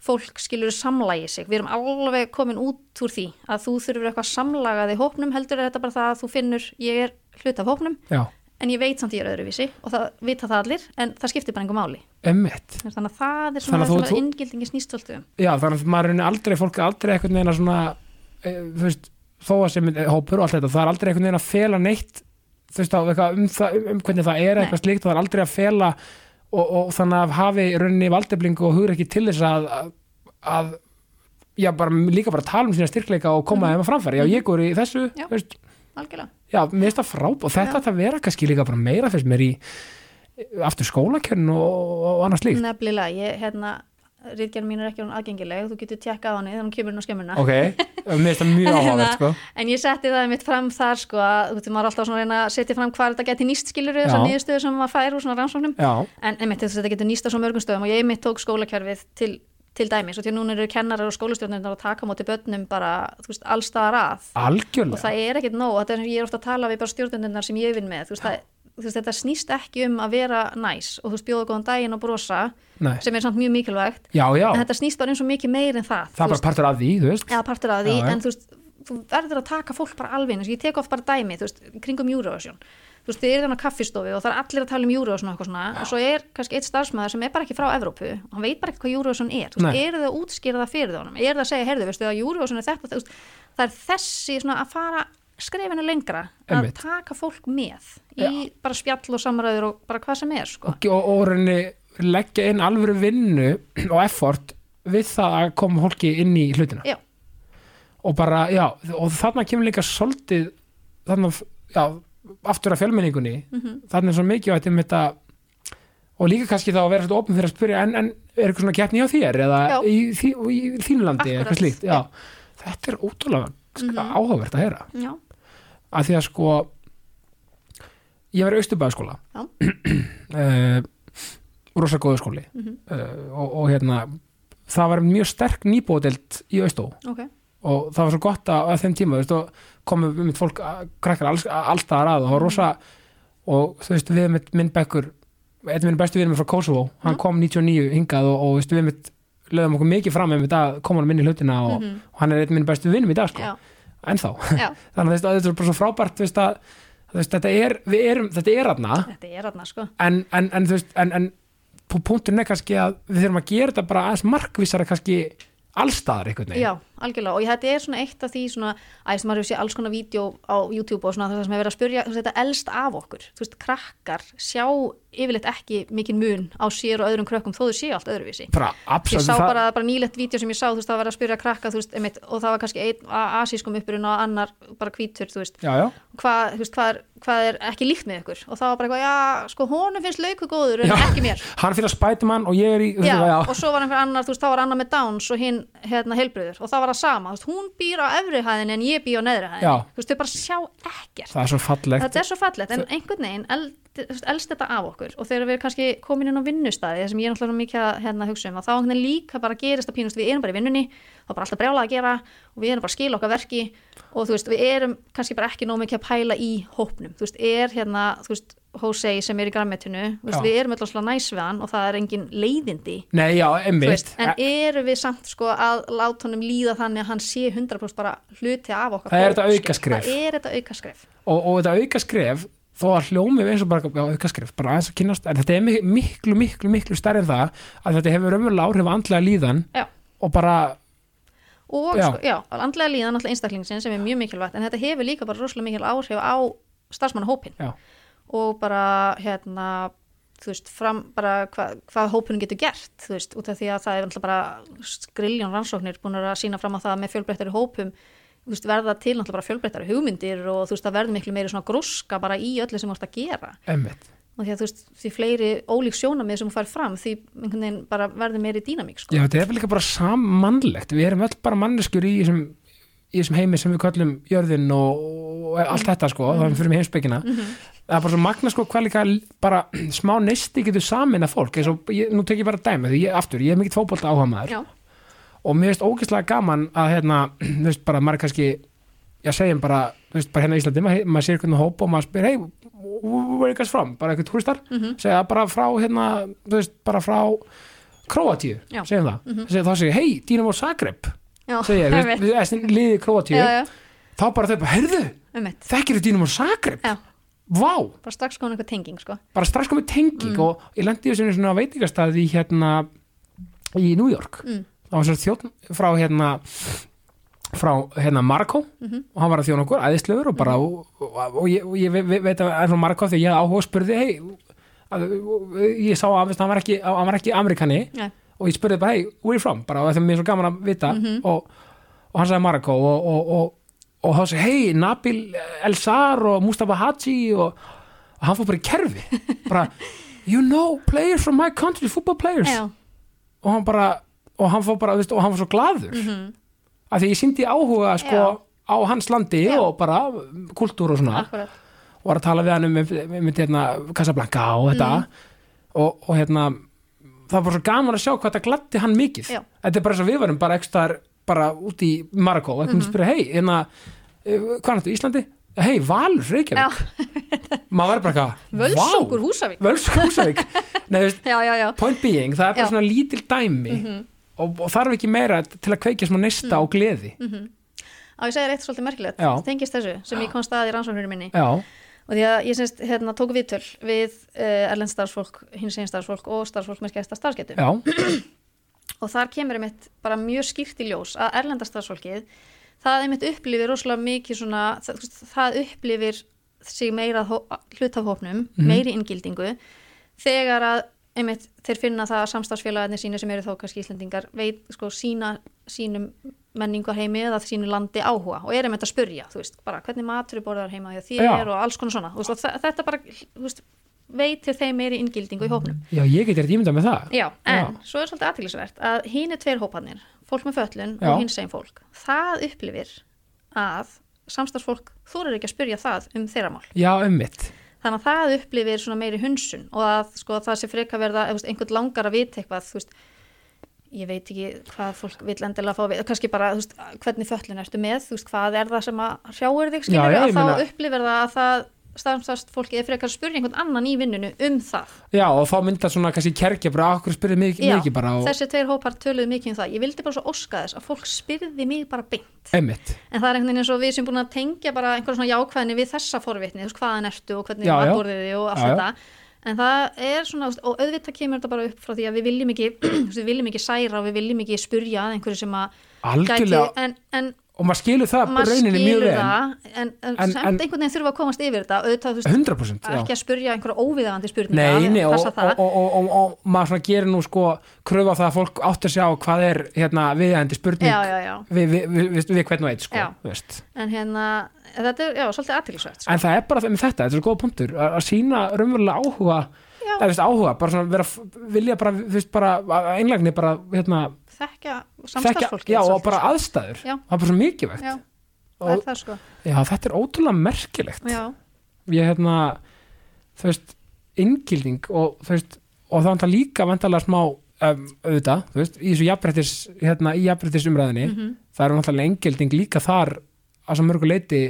fólk skilur samlægi sig. Við erum alveg komin út úr því að þú þurfur eitthvað samlagaði hópnum heldur er þetta bara það að þú finnur ég er hlut af hópnum
já,
en ég veit samt ég er öðruvísi og það vita það allir en það skiptir bara engum máli.
einmitt
Þannig að það er
Þannig
svona
að þú-
sem að
þú-
inngildingi snýst svolítið um.
já, þannig að maður er henni aldrei fólk er aldrei einhvern veginn að svona e, þú veist, þó að sem er hópur og allt þetta það er aldrei einhvern veginn að fela neitt þú veist, á, eitthvað, um, það, um hvernig það er
Nei.
eitthvað slíkt og það er aldrei að fela og, og þannig að hafi í rauninni valdeblingu og hugur ekki til þess að, að, að já, bara, líka bara tala um sína styrkleika og koma þeim að framfæri já, ég góður í þessu
Já.
þú veist,
algjörlega
Já, mér finnst það frábært og þetta ætti að vera kannski líka bara meira fyrst mér í aftur skólakjörn og, og annars líkt.
Nefnilega, ég, hérna, rítgerð mín er ekki hún aðgengileg, þú getur tjekkað á henni þegar hún kemur inn á skemmuna.
Ok, mér finnst það
[LAUGHS]
mjög
Hérna.
áhugavert sko.
En ég setti það mitt fram þar, sko, að þú veitum, maður er alltaf svona að reyna að setja fram hvað þetta geti nýst skilur, þessar
Já.
nýðustöðu sem maður fær úr svona rannsóknum.
Já,
En einmitt, þess að þetta getur nýst á svo mörgum stöðum og ég einmitt tók skólakjörfið til, til dæmis og því að núna eru kennarar og skólastjórnirnar að taka á móti börnum bara, þú veist, allstaðar að og
algjörlega.
það er ekkert nóg, þetta er sem ég er ofta að tala við bara stjórnundunar sem ég vinn með, þú veist, það, þú veist, þetta snýst ekki um að vera næs og þú veist, bjóða góðan daginn og brosa,
Nei.
sem er samt mjög mikilvægt,
Já, já,
en þetta snýst bara eins og mikið meir en það,
það er
þú
bara partur af því, þú veist.
eða partur af því,
Já, já.
en þú veist, þú verður að taka fólk bara alveg, eins og ég tek oft bara dæmi, þú veist, í kringum Eurovision, þú veist, þið eru þannig á kaffistofu og það er allir að tala um Eurovision og eitthvað svona, og svo er kannski eitt starfsmæður sem er bara ekki frá Evrópu og hann veit bara ekki hvað Eurovision er, þú veist,
Nei.
eru þau að útskýra það fyrir honum, eru þau að segja, heyrðu, veistu, að Eurovision er þetta, og það- þú veist, það er þessi svona að fara skrefinu lengra, að
Einmitt.
taka fólk með í bara spjall og samræður og bara hvað sem er, sko.
og, og reyni leggja inn alvöru vinnu [CLEARS THROAT] og effort við það að koma hólki inn í hlutina
Já.
og bara, já, og þarna kemur líka svolítið þarna, já, aftur að fjölmenningunni
Mhm.
þarna er svo mikið og þetta og líka kannski þá að vera svolítið opin fyrir að spyrja en, en er eitthvað svona keppni á þér eða
Já.
í, í, í þínlandi eða
Akkúrat. Mhm.
eitthvað slíkt, já þetta er ótrúlega mm áhugavert að heyra
Já.
að því að sko ég var í austurbæðaskóla [CLEARS THROAT]
Já.
uh, rosa góðu skóli
Mhm.
uh, og, og hérna það var mjög sterk nýbóðdelt í austó
ok.
og það var svo gott að, að þeim tíma þú veist, og komum við mitt fólk að- krakkar alls, alltaf að og það var rosa og þú veist við mitt minn bekkur einn minn bestu vinur minn frá Kosovo hann
Já.
kom 99 hingað og, og þú veist, við mitt lögum okkur mikið fram með þetta kom hann minni hlutina og,
Mhm.
og hann er einn minn bestu vinum í dag sko,
Já.
ennþá [LAUGHS]
Já.
þannig að þetta- þetta er bara svo frábært þú veist, að, þú veist, þetta er, við erum, þetta er aðna
Þetta er aðna, sko.
en, en, en, þú veist, en, en pú- punkturinn er kannski að við þurfum að gera þetta bara aðeins markvísara kannski allstaðar einhvern veginn
Já, algjörlega og ég, þetta er svona eitt af því svona, æ, sem maður hefur séð alls konar vídeo á YouTube og svona það sem hefur verið að spyrja, þú veist, þetta elst af okkur þú veist, krakkar sjá yfirleitt ekki mikinn mun á sér og öðrum krökkum þó þau séu allt öðruvísi
bara
ég
absolutt
sá bara, bara nýlegt vídeo sem ég sá þú veist, það var að spyrja krakka, þú veist, emitt, og það var kannski einn a- asískum uppruna og annar bara hvítur, þú veist,
já, já,
hvað, þú veist, hvað, er, hvað er ekki líkt með ykkur og það var bara eitthvað, já, sko, honum finnst lauku góður en
Já.
ekki mér
hann fyrir að spæta mann og ég er í þú veist,
já,
já,
og svo var einhver annar, þú veist, þá var annar með Downs og hinn, hérna, helbriður og það var það sama, þú veist, hún býr á efri hæðin en ég býr á neðri hæðin,
Já.
þú veist, þau bara sjá ekkert,
það er svo fallegt
þetta er svo fallegt en einhvern veginn el, þú veist, elst þetta af okkur og þegar við erum kannski komin inn á vinnustæði það sem ég er náttúrulega mikið að hérna, hugsa um og þá einhvern veginn líka bara gerist að pínust við erum bara í vinnunni það er bara alltaf brjálað að gera og við erum bara að skila okkar verki og þú veist, við erum kannski bara ekki nóg mikið að pæla í hópnum, þú veist, er hérna, þú veist, Hosei sem er í grammetinu, þú veist,
Já.
við erum alltaf næs við hann og það er engin leiðindi
nei, já,
Þú veist,
einmitt Eh,
en eru við samt sko að láta honum líða þannig að hann sé 100% bara hluti af okkar
Það er þetta
fólks,
aukaskref.
sko. það er þetta aukaskref
og, og þetta auka skref þó að hljómi eins og bara já, auka skref, bara aðeins að kynast en þetta er mik- miklu, miklu, miklu stærri en það að þetta hefur raunverulega áhrif á andlega líðan
Já.
og bara,
og
Já.
Sko, já, andlega líðan alltaf einstaklingsinn sem er mjög mikilvægt en þetta hefur líka bara rosalega mikil áhrif á starfsmannahópin
já
og bara hérna þú veist, fram bara hva, hvað hópunum getur gert, þú veist, út af því að það er náttúrulega bara skriljón rannsóknir búin að sína fram á það að með fjölbreyttari hópum þú veist, verða til náttúrulega bara fjölbreyttari hugmyndir og þú veist, það verður miklu meiri svona grúska bara í öllu sem þú ert að gera
Einmitt.
og því að þú veist, því fleiri ólík sjónamið sem hún fær fram, því einhvern veginn bara verður meiri dýnamík, sko.
Já, þetta er líka bara sammannlegt. Við erum öll bara manneskjur í þessum, í þessum heimi sem við köllum jörðin og, og allt þetta sko, mm. þannig fyrir mig heimspekina. Það er bara svo magna sko hvað líka l- bara smá neisti getur samin að fólk. eins og ég, nú tek ég bara dæmi, því ég, aftur, ég er mikill fótbolta áhuga maður
Já,
og mér finnst ógeðslega gaman að hérna, [CLEARS THROAT] þú veist bara, maður er kannski, já segjum bara, þú veist bara hérna í Íslandi, maður, maður sér hvernig hóp og maður spyr, hey, where you guys from? Bara eitthvað túristar,
Mhm.
segja bara frá hérna, þú veist, bara frá Króatíu,
Já.
segjum það, mm -hmm. þá segja, hey, Dynamo Zagreb,
já, [LAUGHS]
segja, þú veist,
einmitt.
við erum liðið Króatíu,
Já, já,
þá bara þau bara, heyrðu,
einmitt.
þekkir þau Dynamo Zagreb?
Já,
Vá,
bara strax komin eitthvað tenging, sko.
bara strax komið
Mm.
tenging og ég lendi í þessu svona veitingastæði í hérna í New York
Mm.
það var svo þjótt frá hérna frá hérna Marko og hann var að þjóna okkur æðislegur og bara og, og, og, ég, og ég ve, ve, veit að ennum Marko þegar ég hafði áhuga og spurði hei að, ég sá að veist, hann var ekki, hann var ekki Amerikani
Já,
og ég spurði bara hey, where are you from? bara og þetta er mér svo gaman að vita og, og hann sagði Marokko og, og, og, og hann segi, hei, Nabil Elsar og Mustafa Hadji og, og hann fór bara í kerfi bara, you know, players from my country football players
já,
og hann bara, og hann fór bara, þú veist, og hann var svo glaður af því ég síndi áhuga, sko,
Mhm. Já.
á hans landi
Já.
og bara kultúr og svona
akkurat
og var að tala við hann um mynd, hérna, Casablanca og þetta
Mhm.
og, og hérna það var svo gaman að sjá hvað þetta gladdi hann mikið
Já.
þetta er bara svo við varum bara ekki þar bara út í Marokko
Mhm.
og einhvern veginn spyrir, hei, hérna eh, hvað er þetta, Íslandi? Hei, Valur,
Já.
Reykjavík maður var bara eitthvað,
Völsungur
vá,
Húsavík
Völsungur
[LAUGHS]
Húsavík Nei, þú veist,
já, já, já,
point being, það er bara
Já. Mhm.
svona lítil dæmi og, og þarf ekki meira til að kveikja smá neista
Mm.
og gleði
Mhm. á ég segir eitt svolítið merkilegt
Já.
tengist þessu sem ég kom stað í rannsóknurinn minni
Já,
og því að ég semst hérna tók viðtöl við uh, erlend starfsfólk, hins einn starfsfólk og starfsfólk með skesta starfsgetu
já,
og þar kemur einmitt bara mjög skýrt í ljós að erlenda starfsfólkið það einmitt upplifir rosalega mikið svona það, þú veist, það upplifir sig meira hó- hlutafhópnum, meiri inngildingu þegar að einmitt þeir finna það að samstarfsfélagarnir sínu sem eru þó kannski íslendingar veit sko sína sínum menningar heimi eða sínu landi áhuga og er einmitt að spurja, þú veist, bara hvernig matur er borðar heima hjá þér
Já.
og alls konar svona þú veist, og þa- þetta bara, þú veist, veitir þeim meiri inngildingu í hópnum
já, ég geti rétt ímyndað með það
Já, en svo er svolítið aðtýrlisvert að hínu tveir hóparnir, fólk með föllun
Já.
og hins einn fólk, það upplifir að samstarfsfólk þorir ekki að spyrja það um þeirra mál.
Já, ummitt
Þannig að það upplifir svona meiri hunsun og að sko, það sé freka verða, ef þú veist, einhvern langar að vita eitthvað, þú veist, ég veit ekki hvað fólk vil endilega fá að vita, kannski bara, þú veist, hvernig föllun ertu með, þú veist, hvað er það sem að hrjáur þig, skilur,
Já, já, ég
að
meina-
þá upplifir það að það samstarfsfólki er frekar að spyrja einhvern annan í vinnunni um það.
Já, og þá mynda svona kannski kerkja bara okkur spyrir mig, mig
Já,
ekki bara og
þessi tveir hópar töluðu mikið um það ég vildi bara svo óska þess að fólk spyrði mig bara beint
einmitt.
en það er einhvern veginn eins og við sem búin að tengja bara einhverjum svona jákvæðinni við þessa forvitni þú veist hvaðan ertu og hvernig
Já, já.
matborðið þið og allt
Já, já.
þetta en það er svona, þú veist, og auðvitað kemur þetta bara upp frá því að við viljum ekki, [CLEARS THROAT] þú veist, við viljum ekki særa og við viljum ekki spurja að einhverju sem að
Algjörlega,
gæti, en, en
og maður skilur það
maður
rauninni mjög
skilur
vel
það en, en,
En-
samt
en-
einhvern veginn þurfa að komast yfir þetta auðvitað, þú veist,
100% já.
ekki að spurja einhverja óviðagandi spurninga
Nei, nei, og,
passa það.
og, og, og, og, og maður svona gerir nú sko kröfa á það að fólk átt að sjá hvað er hérna, viðhændi spurning
já, já, já.
Við, við, við, við, við hvern og eitt sko,
Já.
þú veist.
en hérna, þetta er, já, svolítið aðtilsvægt
en það er bara með þetta, þetta er svo góða punktur að að sína raunverulega áhuga
Já.
eða, veist, áhuga, bara svona vera, vilja bara, þú veist, bara að einlægni bara hérna,
þekkja
þekkja,
samstarfsfólki
já, og bara aðstæður
Já.
það er bara svo mikilvægt
sko. já, það er
og,
það sko
já, þetta er ótrúlega merkilegt
já,
ég hérna þú veist, inngilding og þú veist, og það vantar líka vantarlega smá um, auðvitað, þú veist, í þessu jafnbrettis, hérna, í jafnbrettis umræðinni
Mhm.
það er vantarlega inngilding líka þar að svo mörgu leiti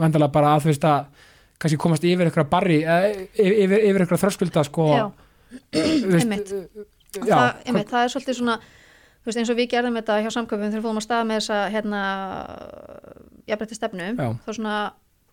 vantarlega bara að þú veist að kannski komast yfir eitthvað barri eða yfir, yfir, yfir eitthvað þröskulda sko
já,
þú veist,
einmitt.
já,
það, einmitt, það er svolítið svona þú veist, eins og við gerðum þetta hjá samköpum þegar við fórum að staða með þessa hérna, jafnbretti stefnu
Já.
þá svona,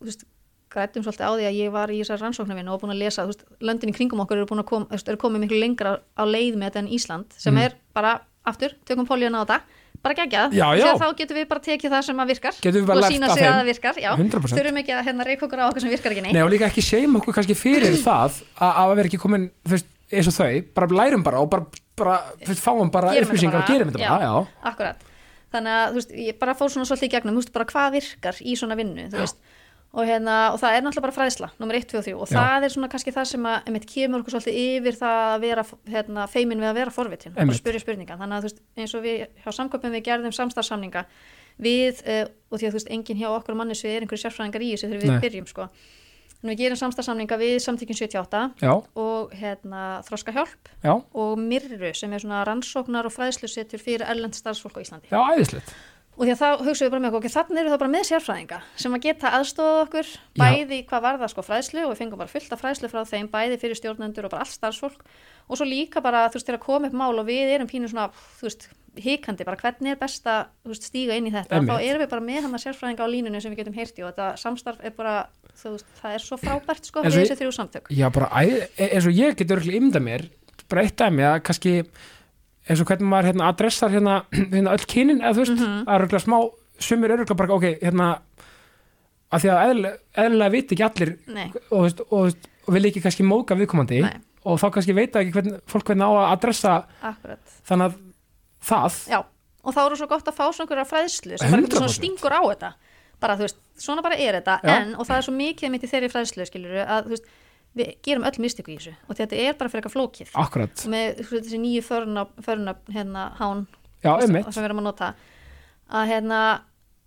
þú veist, grættum svolítið á því að ég var í þessar rannsóknarvinnu og búin að lesa þú veist, löndin í kringum okkur eru, búin að kom, þú veist, eru komið miklu lengra á leið með þetta en Ísland sem
Mm.
er bara, aftur, tökum pólíuna á þetta bara geggjað,
Já, já.
Því að þá getum við bara tekið það sem að virkar
Getum við bara
og
lært
sína
af
sig að
þeim.
það virkar já,
100%.
þurfum ekki að hérna, reyka okkur á okkur sem virkar ekki neitt
Nei og líka ekki segjum okkur kannski
[CLEARS THROAT]
fyrir það að, að vera ekki komin þú veist, eins og þau, bara lærum bara og bara, bara þú veist, fáum bara
Gerum þetta
upplýsingar og
bara,
gerum þetta bara, já,
Akkurat. Þannig að þú veist, ég bara fór svona svolítið í gegnum, þú veist, bara hvað virkar í svona vinnu, þú veist. Og, hérna, og það er náttúrulega bara fræðsla, nummer 1, 2 og 3 og
Já.
það er svona kannski það sem að einmitt, kemur okkur svolítið yfir það að vera hérna, feimin við að vera forvitin og
Einmitt.
spyrja spurninga þannig að þú veist, eins og við hjá samköpum við gerðum samstarfsamninga við uh, og því að þú veist, enginn hjá okkur mannis við er einhverju sérfræðingar í þessu þegar við
Nei.
byrjum sko. en við gerum samstarfsamninga við samtíkin 78
já,
og hérna, þroska hjálp
já,
og Mirru sem er svona rannsóknar og fræðslusetjur fyrir erlend starfsfólk á Íslandi.
já, æðislegt
Og því að þá hugsaum við bara með okkur, ok, þannig eru það bara með sérfræðinga sem að geta aðstofað okkur bæði hvað var það sko fræðslu og við fengum bara fullt af fræðslu frá þeim bæði fyrir stjórnendur og bara allt starfsfólk og svo líka bara þú veist þegar kom upp mál og við erum pínu svona, þú veist, hikandi bara hvernig er best að þú veist, stíga inn í þetta
Einmitt.
og þá erum við bara með hann að sérfræðinga á línunni sem við getum heyrti og þetta samstarf er bara, þú veist, það er svo frábært sko
En
við
svo-
þessi þrjú samtök.
Já, bara æ, e, eins og ég getur örgulega ymda mér bara eitt dæmi að kannski eins og hvernig maður hérna adressar hérna, [CLEARS THROAT] hérna öll kynin eða þú veist,
Mhm.
það er örgulega smá sumir örgulega bara, ok, hérna að því að eðlilega, eðlilega veit ekki allir
Nei,
og, þú veist, og, þú veist, og vil ekki kannski móka viðkomandi
Nei.
og þá kannski veit það ekki hvern, fólk hvernig á að adressa
akkurat.
þannig að það
Já, og þá eru svo gott að fá svona einhverja fræðslu sem bara getur svona
100%.
stingur á þetta bara þú veist, svona bara er þetta
Já.
en, og það er svo mikið mitt í þeirri fræðslu skilur að þú veist, við gerum öll mistöku í þessu og þetta er bara fyrir eitthvað flókið
akkurat,
og með þú veist, þessi nýju förunöfn, förunöfn hérna, hán,
já,
sem
einmitt
sem við erum að nota að hérna,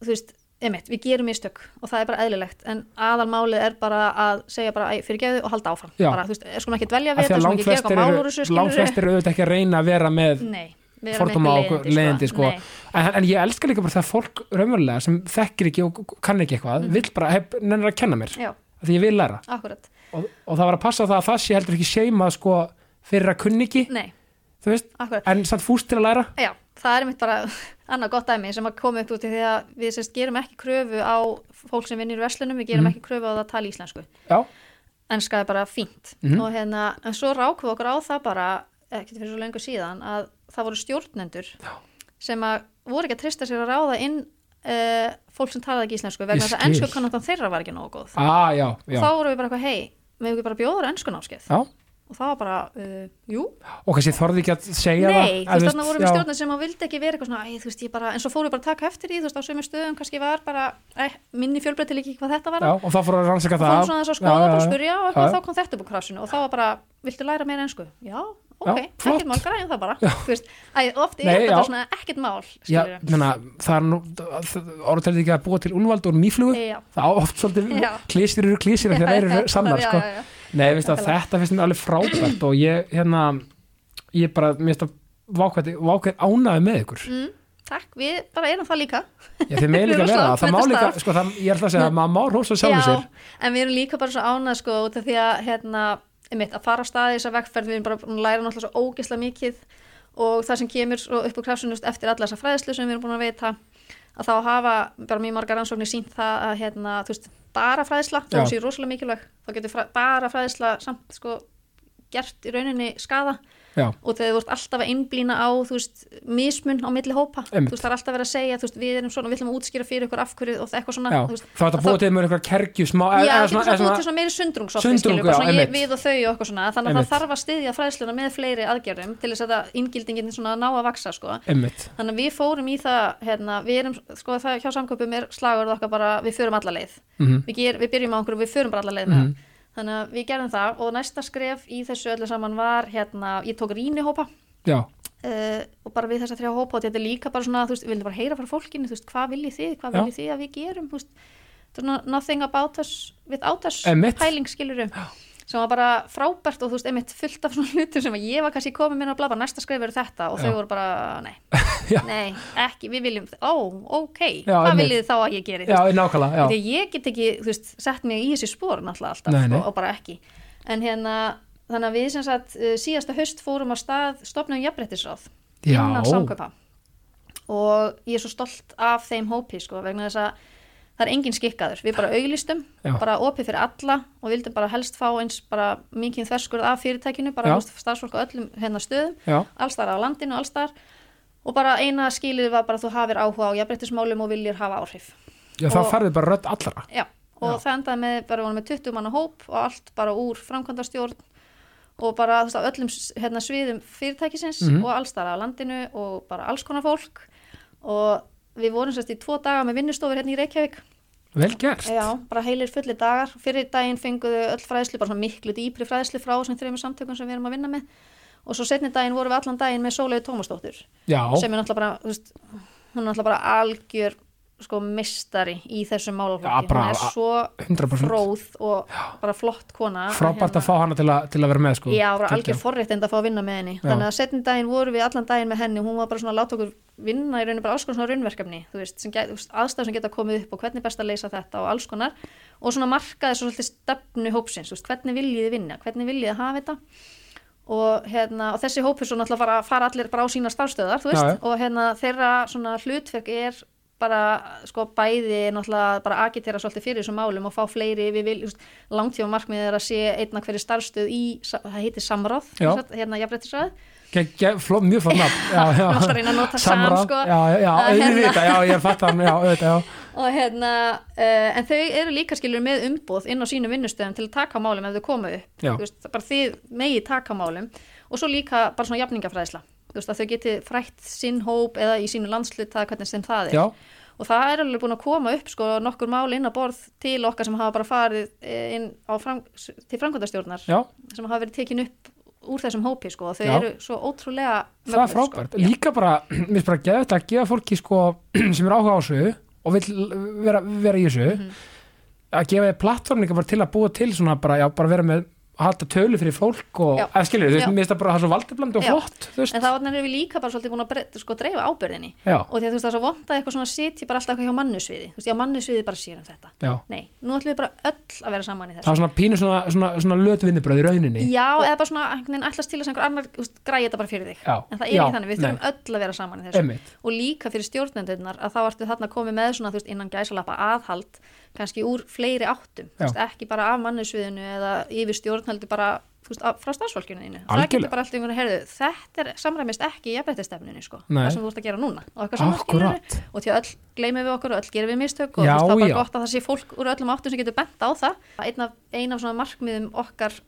þú veist einmitt, við gerum mistök og það er bara eðlilegt en aðalmálið er bara að segja bara fyrir geðu og halda áfram
Já.
bara, þú veist, er sko ekki að dvelja
af
við
því
þetta,
að
sko ekki
langflestir
að gera mál úr
eru
þessu skilur
langflestir eru auðvitað ekki að reyna að vera með
Nei, við erum
fordóma á
ekki
okkur
leiðindi,
leiðindi sko.
Nei,
en, en ég elska líka bara það fólk raunverulega sem þekkir ekki og kann ekki eitthvað vill bara, hef, nennir að kenna mér
Mm. já,
af því ég vil læra
akkurat
og, og það var að passa það að það sé heldur ekki seima sko, fyrir að kunni ekki
Nei,
þú veist,
akkurat
en samt fúst til að læra
Já, það er mitt bara [LAUGHS] annað gott dæmi sem að koma upp út í því að við sérst gerum ekki kröfu á fólk sem vinnir í verslunum, við
Mhm.
gerum ekki kröfu á það að tala íslensku.
já,
Ennska er bara fínt.
Mhm.
Og hérna, en svo rákum við okkur á það bara, ekkert fyrir svo lengur síðan, að það voru stjórnendur Já. sem að voru ekki að trista sér að ráða inn uh, fólk sem talaði ekki íslensku vegna
Ég
þess að
skil.
ennsku kannatan þeirra var ekki nógu góð.
ah, já, já,
Þá voru við bara eitthvað, hei, við ekki bara bjóður ennsku námskeið.
já.
Og það var bara, uh, jú,
og kannski þorði ekki að segja
Nei,
það
þú
að
veist, þarna vorum við
já,
stjórnar sem að vildi ekki vera eitthvað svona, æ, þú veist, ég bara, en svo fórum við bara að taka eftir því, þú veist, á sömu stöðum kannski var bara, æ, minni fjölbreytileiki hvað þetta var,
já, og þá fór að rannsaka
og
það
fórum svona þess að skoða bara og spyrja og
já.
eitthvað, þá kom þetta upp úr krásinu og þá var bara, viltu læra meira ensku? Já, ok,
Já, flott.
ekkert mál, græðum það bara, þú veist, æ, oft er
Nei,
þetta
já.
svona ekkert mál,
Já,
skilur
menna, það er nú orðutæli ekki að búa til úlvald og mýflugu
Já.
það á oft svolítið
Já.
klísir eru klísir þegar þeir eru sannar sko.
[LAUGHS] já, já, já.
Nei, veist að
Nákvæmlega.
þetta finnst mér alveg frábært og ég, hérna ég bara, mér finnst að vákvæði vákvæð ánæði með ykkur
Mm, takk, við bara erum það líka
Já, þið
[LAUGHS]
með
Við
líka
erum
vera
svo
það, það má
ákveðin
líka,
starf.
sko, það, ég ætla að segja að maður má hrósa sjálfum sér
en við erum líka bara svo ánað sko út af því að hérna, einmitt, að fara á staði þessa vegferð, við erum bara búin að læra náttúrulega svo ógisla mikið og það sem kemur svo upp úr krafsunust eftir alla þessa fræðslu sem við erum búin að veita að þá hafa bara mjög margar rannsóknir sínt það að hérna, þú veist, bara fræðsla þá
Já.
sé rosalega mikilvæg, þá getur fræ, bara fræðsla samt sko gert í rauninni skada
Já,
og þegar þú ert alltaf að innblýna á þú veist, mismun á milli hópa
Einmitt.
þú veist, það er alltaf að vera að segja, þú veist, við erum svona við ætlum að útskýra fyrir ykkur af hverju og eitthvað svona
já,
þú veist,
þá ætla að búa til með einhverja kergju smá,
Já,
eða
það getur
svona,
svona
eða
búið til
svona
svona meiri sundrung
Sundrung, já,
svolítið, skilur við, bara svona ég,
einmitt.
við og þau og eitthvað svona þannig að
Einmitt.
það þarf að styðja fræðsluna með fleiri aðgerðum til þess að það inngildingin svona ná að vaksa sko.
Einmitt,
þannig að við fórum í það hérna, við erum, sko það hjá samköpum er slagurð okkar bara við förum alla leið
Mhm.
við, ger, við byrjum á einhverju, við förum bara alla leið með það þannig að við gerum það og næsta skref í þessu öllu saman var hérna, ég tók rínihópa
já,
Uh, og bara við þessa þrjá hópa og þetta er líka bara svona, þú veist, við viljum bara heyra frá fólkinu þú veist, hvað viljið þið, hvað
Já.
viljið þið að við gerum þú veist, þetta er svona nothing about us without us,
Einmitt.
pæling skilurum sem var bara frábært og þú veist, einmitt fullt af svona hlutum sem að ég var kannski komin mér að blabba, næsta skrif eru þetta og
Já.
þau voru bara, nei,
[LAUGHS] Já.
nei ekki, við viljum, ó, ok
Já,
hvað
einmitt.
viljið þið þá að ég geri, þú
já, nákvæmlega,
Því
já,
að ég get ekki, þú veist, sett mig í þessi spór náttúrulega alltaf
Nei, nei.
Og, og bara ekki. En hérna, þannig að við sem sagt uh, síðasta haust fórum á stað stopnum jafnbrettisráð
Já.
innan samkaupa. Og ég er svo stolt af þeim hópi, sko, vegna þess að það er engin skikkaður. Við bara auglýstum,
Já.
bara opið fyrir alla og vildum bara helst fá eins bara mikið þverskurð af fyrirtækinu, bara
Já.
þú veist, starfsfólk á öllum hérna stöðum
já,
allstar á landinu, allstar og bara eina skilið var bara að þú hafir áhuga á jafnbrettismálum og viljir hafa áhrif
já, þá
Og-
farið bara rödd allra
Já, og það endaði með, bara vorum með 20 manna hóp og allt bara úr framkvæmdastjórn og bara þú veist, á öllum s- hérna, sviðum fyrirtækisins og alls þar á landinu og bara alls konar fólk og við vorum sérst í tvo daga með vinnustofur hérna í Reykjavík
Vel gert,
Já, bara heilir fulli dagar fyrir daginn fenguðu öll fræðslu, bara svona miklu dýpri fræðslu frá þessum þreymur samtökum sem við erum að vinna með og svo setni daginn vorum við allan daginn með Sólegu Tómasdóttur
já,
sem er náttúrulega bara, þú veist, hún er náttúrulega bara algjör sko mistari í þessum
Já,
málaflokki,
bara
hún er
a-
svo
100%
fróð og bara flott kona hérna-
frábært að fá hana til að, til að vera með, sko
Já, bara
Geggjað.
algjör forréttind að fá að vinna með henni
Já.
þannig að setjum daginn voru við allan daginn með henni hún var bara svona að láta okkur vinna í rauninni bara alls konar svona raunverkefni þú veist, sem gæt, aðstæð sem geta komið upp og hvernig er best að leysa þetta og alls konar og svona markaði svo svolítið stefnu hópsins þú veist, hvernig viljið þið vinna, hvernig viljið þið hafa þetta og, hérna, og þessi hópur svo náttúrulega fara, fara allir bara á sína starfstöðar þú veist,
Já, já.
og hérna, þeirra svona hlutverk er bara sko bæði náttúrulega bara agitera svolítið fyrir þessum málum og fá fleiri við vil, just, langtjóma markmið er að sé einna hverju starfstöð í, sa- það heitir samráð
Já.
sagt, hérna jafnbrettisræð
Gegn- gegn- fló- Mjög flott nafn Já, já.
Alltaf reyna að
[LAUGHS]
nota sam,
Samráð,
sko.
Já, já,
Að hérna-
auðvitað, já,
[LAUGHS]
ég fatt hann Já, auðvitað, já
og hérna uh, en þau eru líka skilur með umbóð inn á sínum vinnustöðum til að taka á málum ef þau koma upp
Já.
Þú veist, bara þið megi taka á málum og svo líka bara svona jafningafræðisla Þú veist, að þau geti frætt sinn hóp eða í sínu landslut það hvernig sem það er
Já.
og það er alveg búin að koma upp sko nokkur mál inn á borð til okkar sem hafa bara farið eh, inn á fram, til framkvæmdastjórnar
já,
sem hafa verið tekin upp úr þessum hópi sko og þau
Já.
eru svo ótrúlega
það er
mögnuð,
frábært
sko. Já.
líka bara, [CLEARS THROAT] mér finnst bara geðvægt að gefa fólki sko, [CLEARS THROAT] sem er áhuga á þessu og vill uh, vera, vera í þessu
Mhm.
að gefa þið plattform líka bara til að búa til svona bara, já, bara vera með að halda tölu fyrir fólk og,
Já.
eða skilur, þú
Já.
veist, mér finnst það bara það svo valdiblandi og
Já.
flott, þú veist
en þá er við líka bara svolítið búin að bre- sko, dreifa ábyrðinni
já,
og því að þú veist það er svo vond að eitthvað svona sitji bara alltaf eitthvað hjá mannusviði þú veist, já mannusviði bara sér um þetta
já,
nei, nú ætlum við bara öll að vera saman í þessu
það er svona pínu svona, svona, svona lötvinnibröð í rauninni
já, eða bara svona einhvern veginn ætlast til þess að einhver annar þú veist, græði þetta bara fyrir þig
Já.
en það er
Já,
ekki þannig, við þurfum öll að vera saman í þessu
Einmitt.
og líka fyrir stjórnendurnar að þá ertu þarna komið með svona, þú veist, innan gæsalappa aðhald kannski úr fleiri áttum þú
Já.
veist, ekki bara af mannusviðinu eða yfir stjórnhaldi bara þú veist, af- frá starfsfólkinu þínu það
Algjörlega.
getur bara alltaf einhvern veginn, heyrðu, þetta er, samræmist ekki í jafnrættistefnunni sko,
Nei.
það sem þú ert að gera núna og eitthvað svona
Akkúrat.
skilurðu. og því að öll gleymum við okkur og öll gerum við mistök
Já,
og þú veist, það er bara
já.
gott að það sé fólk úr öllum áttum sem getur bent á það einn af, ein af svona markmiðum okkar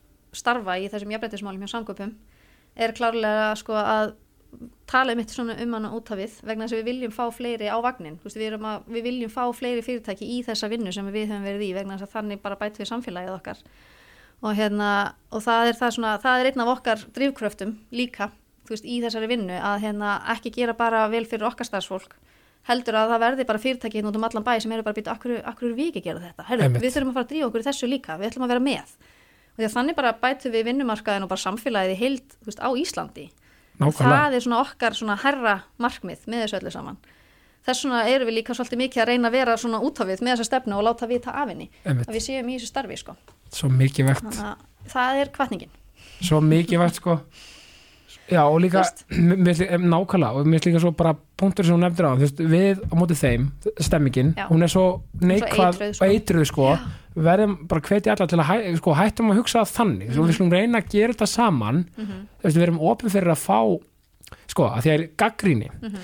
starfa í þessum jafnrættismálum hjá samgöpum er klárlega sko að tala um eitt svona um hana út af við vegna þess að við viljum fá fleiri á vagnin Vistu, við, erum að, við viljum fá fleiri fyrirtæki í þessa vinnu sem við höfum verið í vegna þess að þannig bara bætu við samfélagið okkar og, hérna, og það, er það, svona, það er einn af okkar drivkröftum líka þú veist, í þessari vinnu að hérna, ekki gera bara vel fyrir okkar starfsfólk heldur að það verði bara fyrirtæki hérna út um allan bæ sem eru bara að býta akkur, akkur eru við ekki að gera þetta Herru,
Einmitt.
við þurfum að fara að drífa okkur í þessu líka við ætlum að vera með og því að þannig bara bætu við vinnumarkaðin og bara samfélagið í heild þú veist, á Íslandi
nákvæmlega,
það er svona okkar svona herra markmið með þessu öllu saman þess vegna erum við líka svolítið mikið að reyna að vera svona útafið með þessa stefnu og láta vita af henni
Einmitt.
að við séum í þessu starfi sko.
svo mikið vegt
Þannig að það er kvartningin
svo mikilvægt sko já og líka
Veist.
[CLEARS THROAT] mér- mér finnst- em, nákvæmlega og mér finnst líka svo bara punktur sem hún nefndir á veist, við á móti þeim, stemmingin
Já.
hún er svo neikvað
eitruð, sko.
og eitruð sko verðum bara hvetja alla til að hæ, sko, hættum að hugsa það þannig mm við slum reyna að gera þetta saman mm -hmm. veist, við erum opið fyrir að fá sko að því að er gaggríni
Mhm.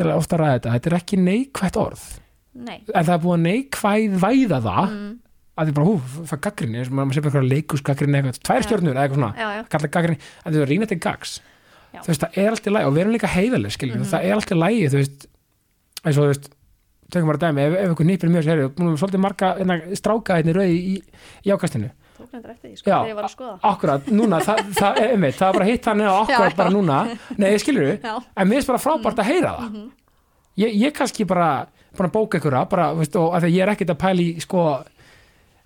ég er ofta að ræða þetta, þetta er ekki neikvægt orð
Nei,
en það er búið að neikvæð væða það
Mm.
að því bara, hú, það er gaggrinni eins og maður sé bara eitthvað leikus gaggrinni eitthvað, tvær stjórnur eða eitthvað svona,
já, já,
kalla gaggrinni en þú rýna til gags
Já. Mhm.
þú veist, það er allt í lagi og við erum líka heiðaleg, skiljum það er allt í lagi, þú veist eins og þú veist, tökum bara dæmi ef, ef einhver nýpir mjög sér, þú erum svolítið marga hérna, stráka hérna í rauði í, í ákastinu
tók reyndar eftir því sko,
Já,
þegar ég var að skoða
akkurat, núna, það, [LAUGHS] það, e, einmitt, það er bara hitt þannig á akkurat
Já, já.
bara núna nei, skilur við,
Já. Mhm.
en mér er bara frábært að heyra það ég, ég kannski bara bara bóka ykkur að, bara, veist, og að því að ég er ekkert að pæli, sko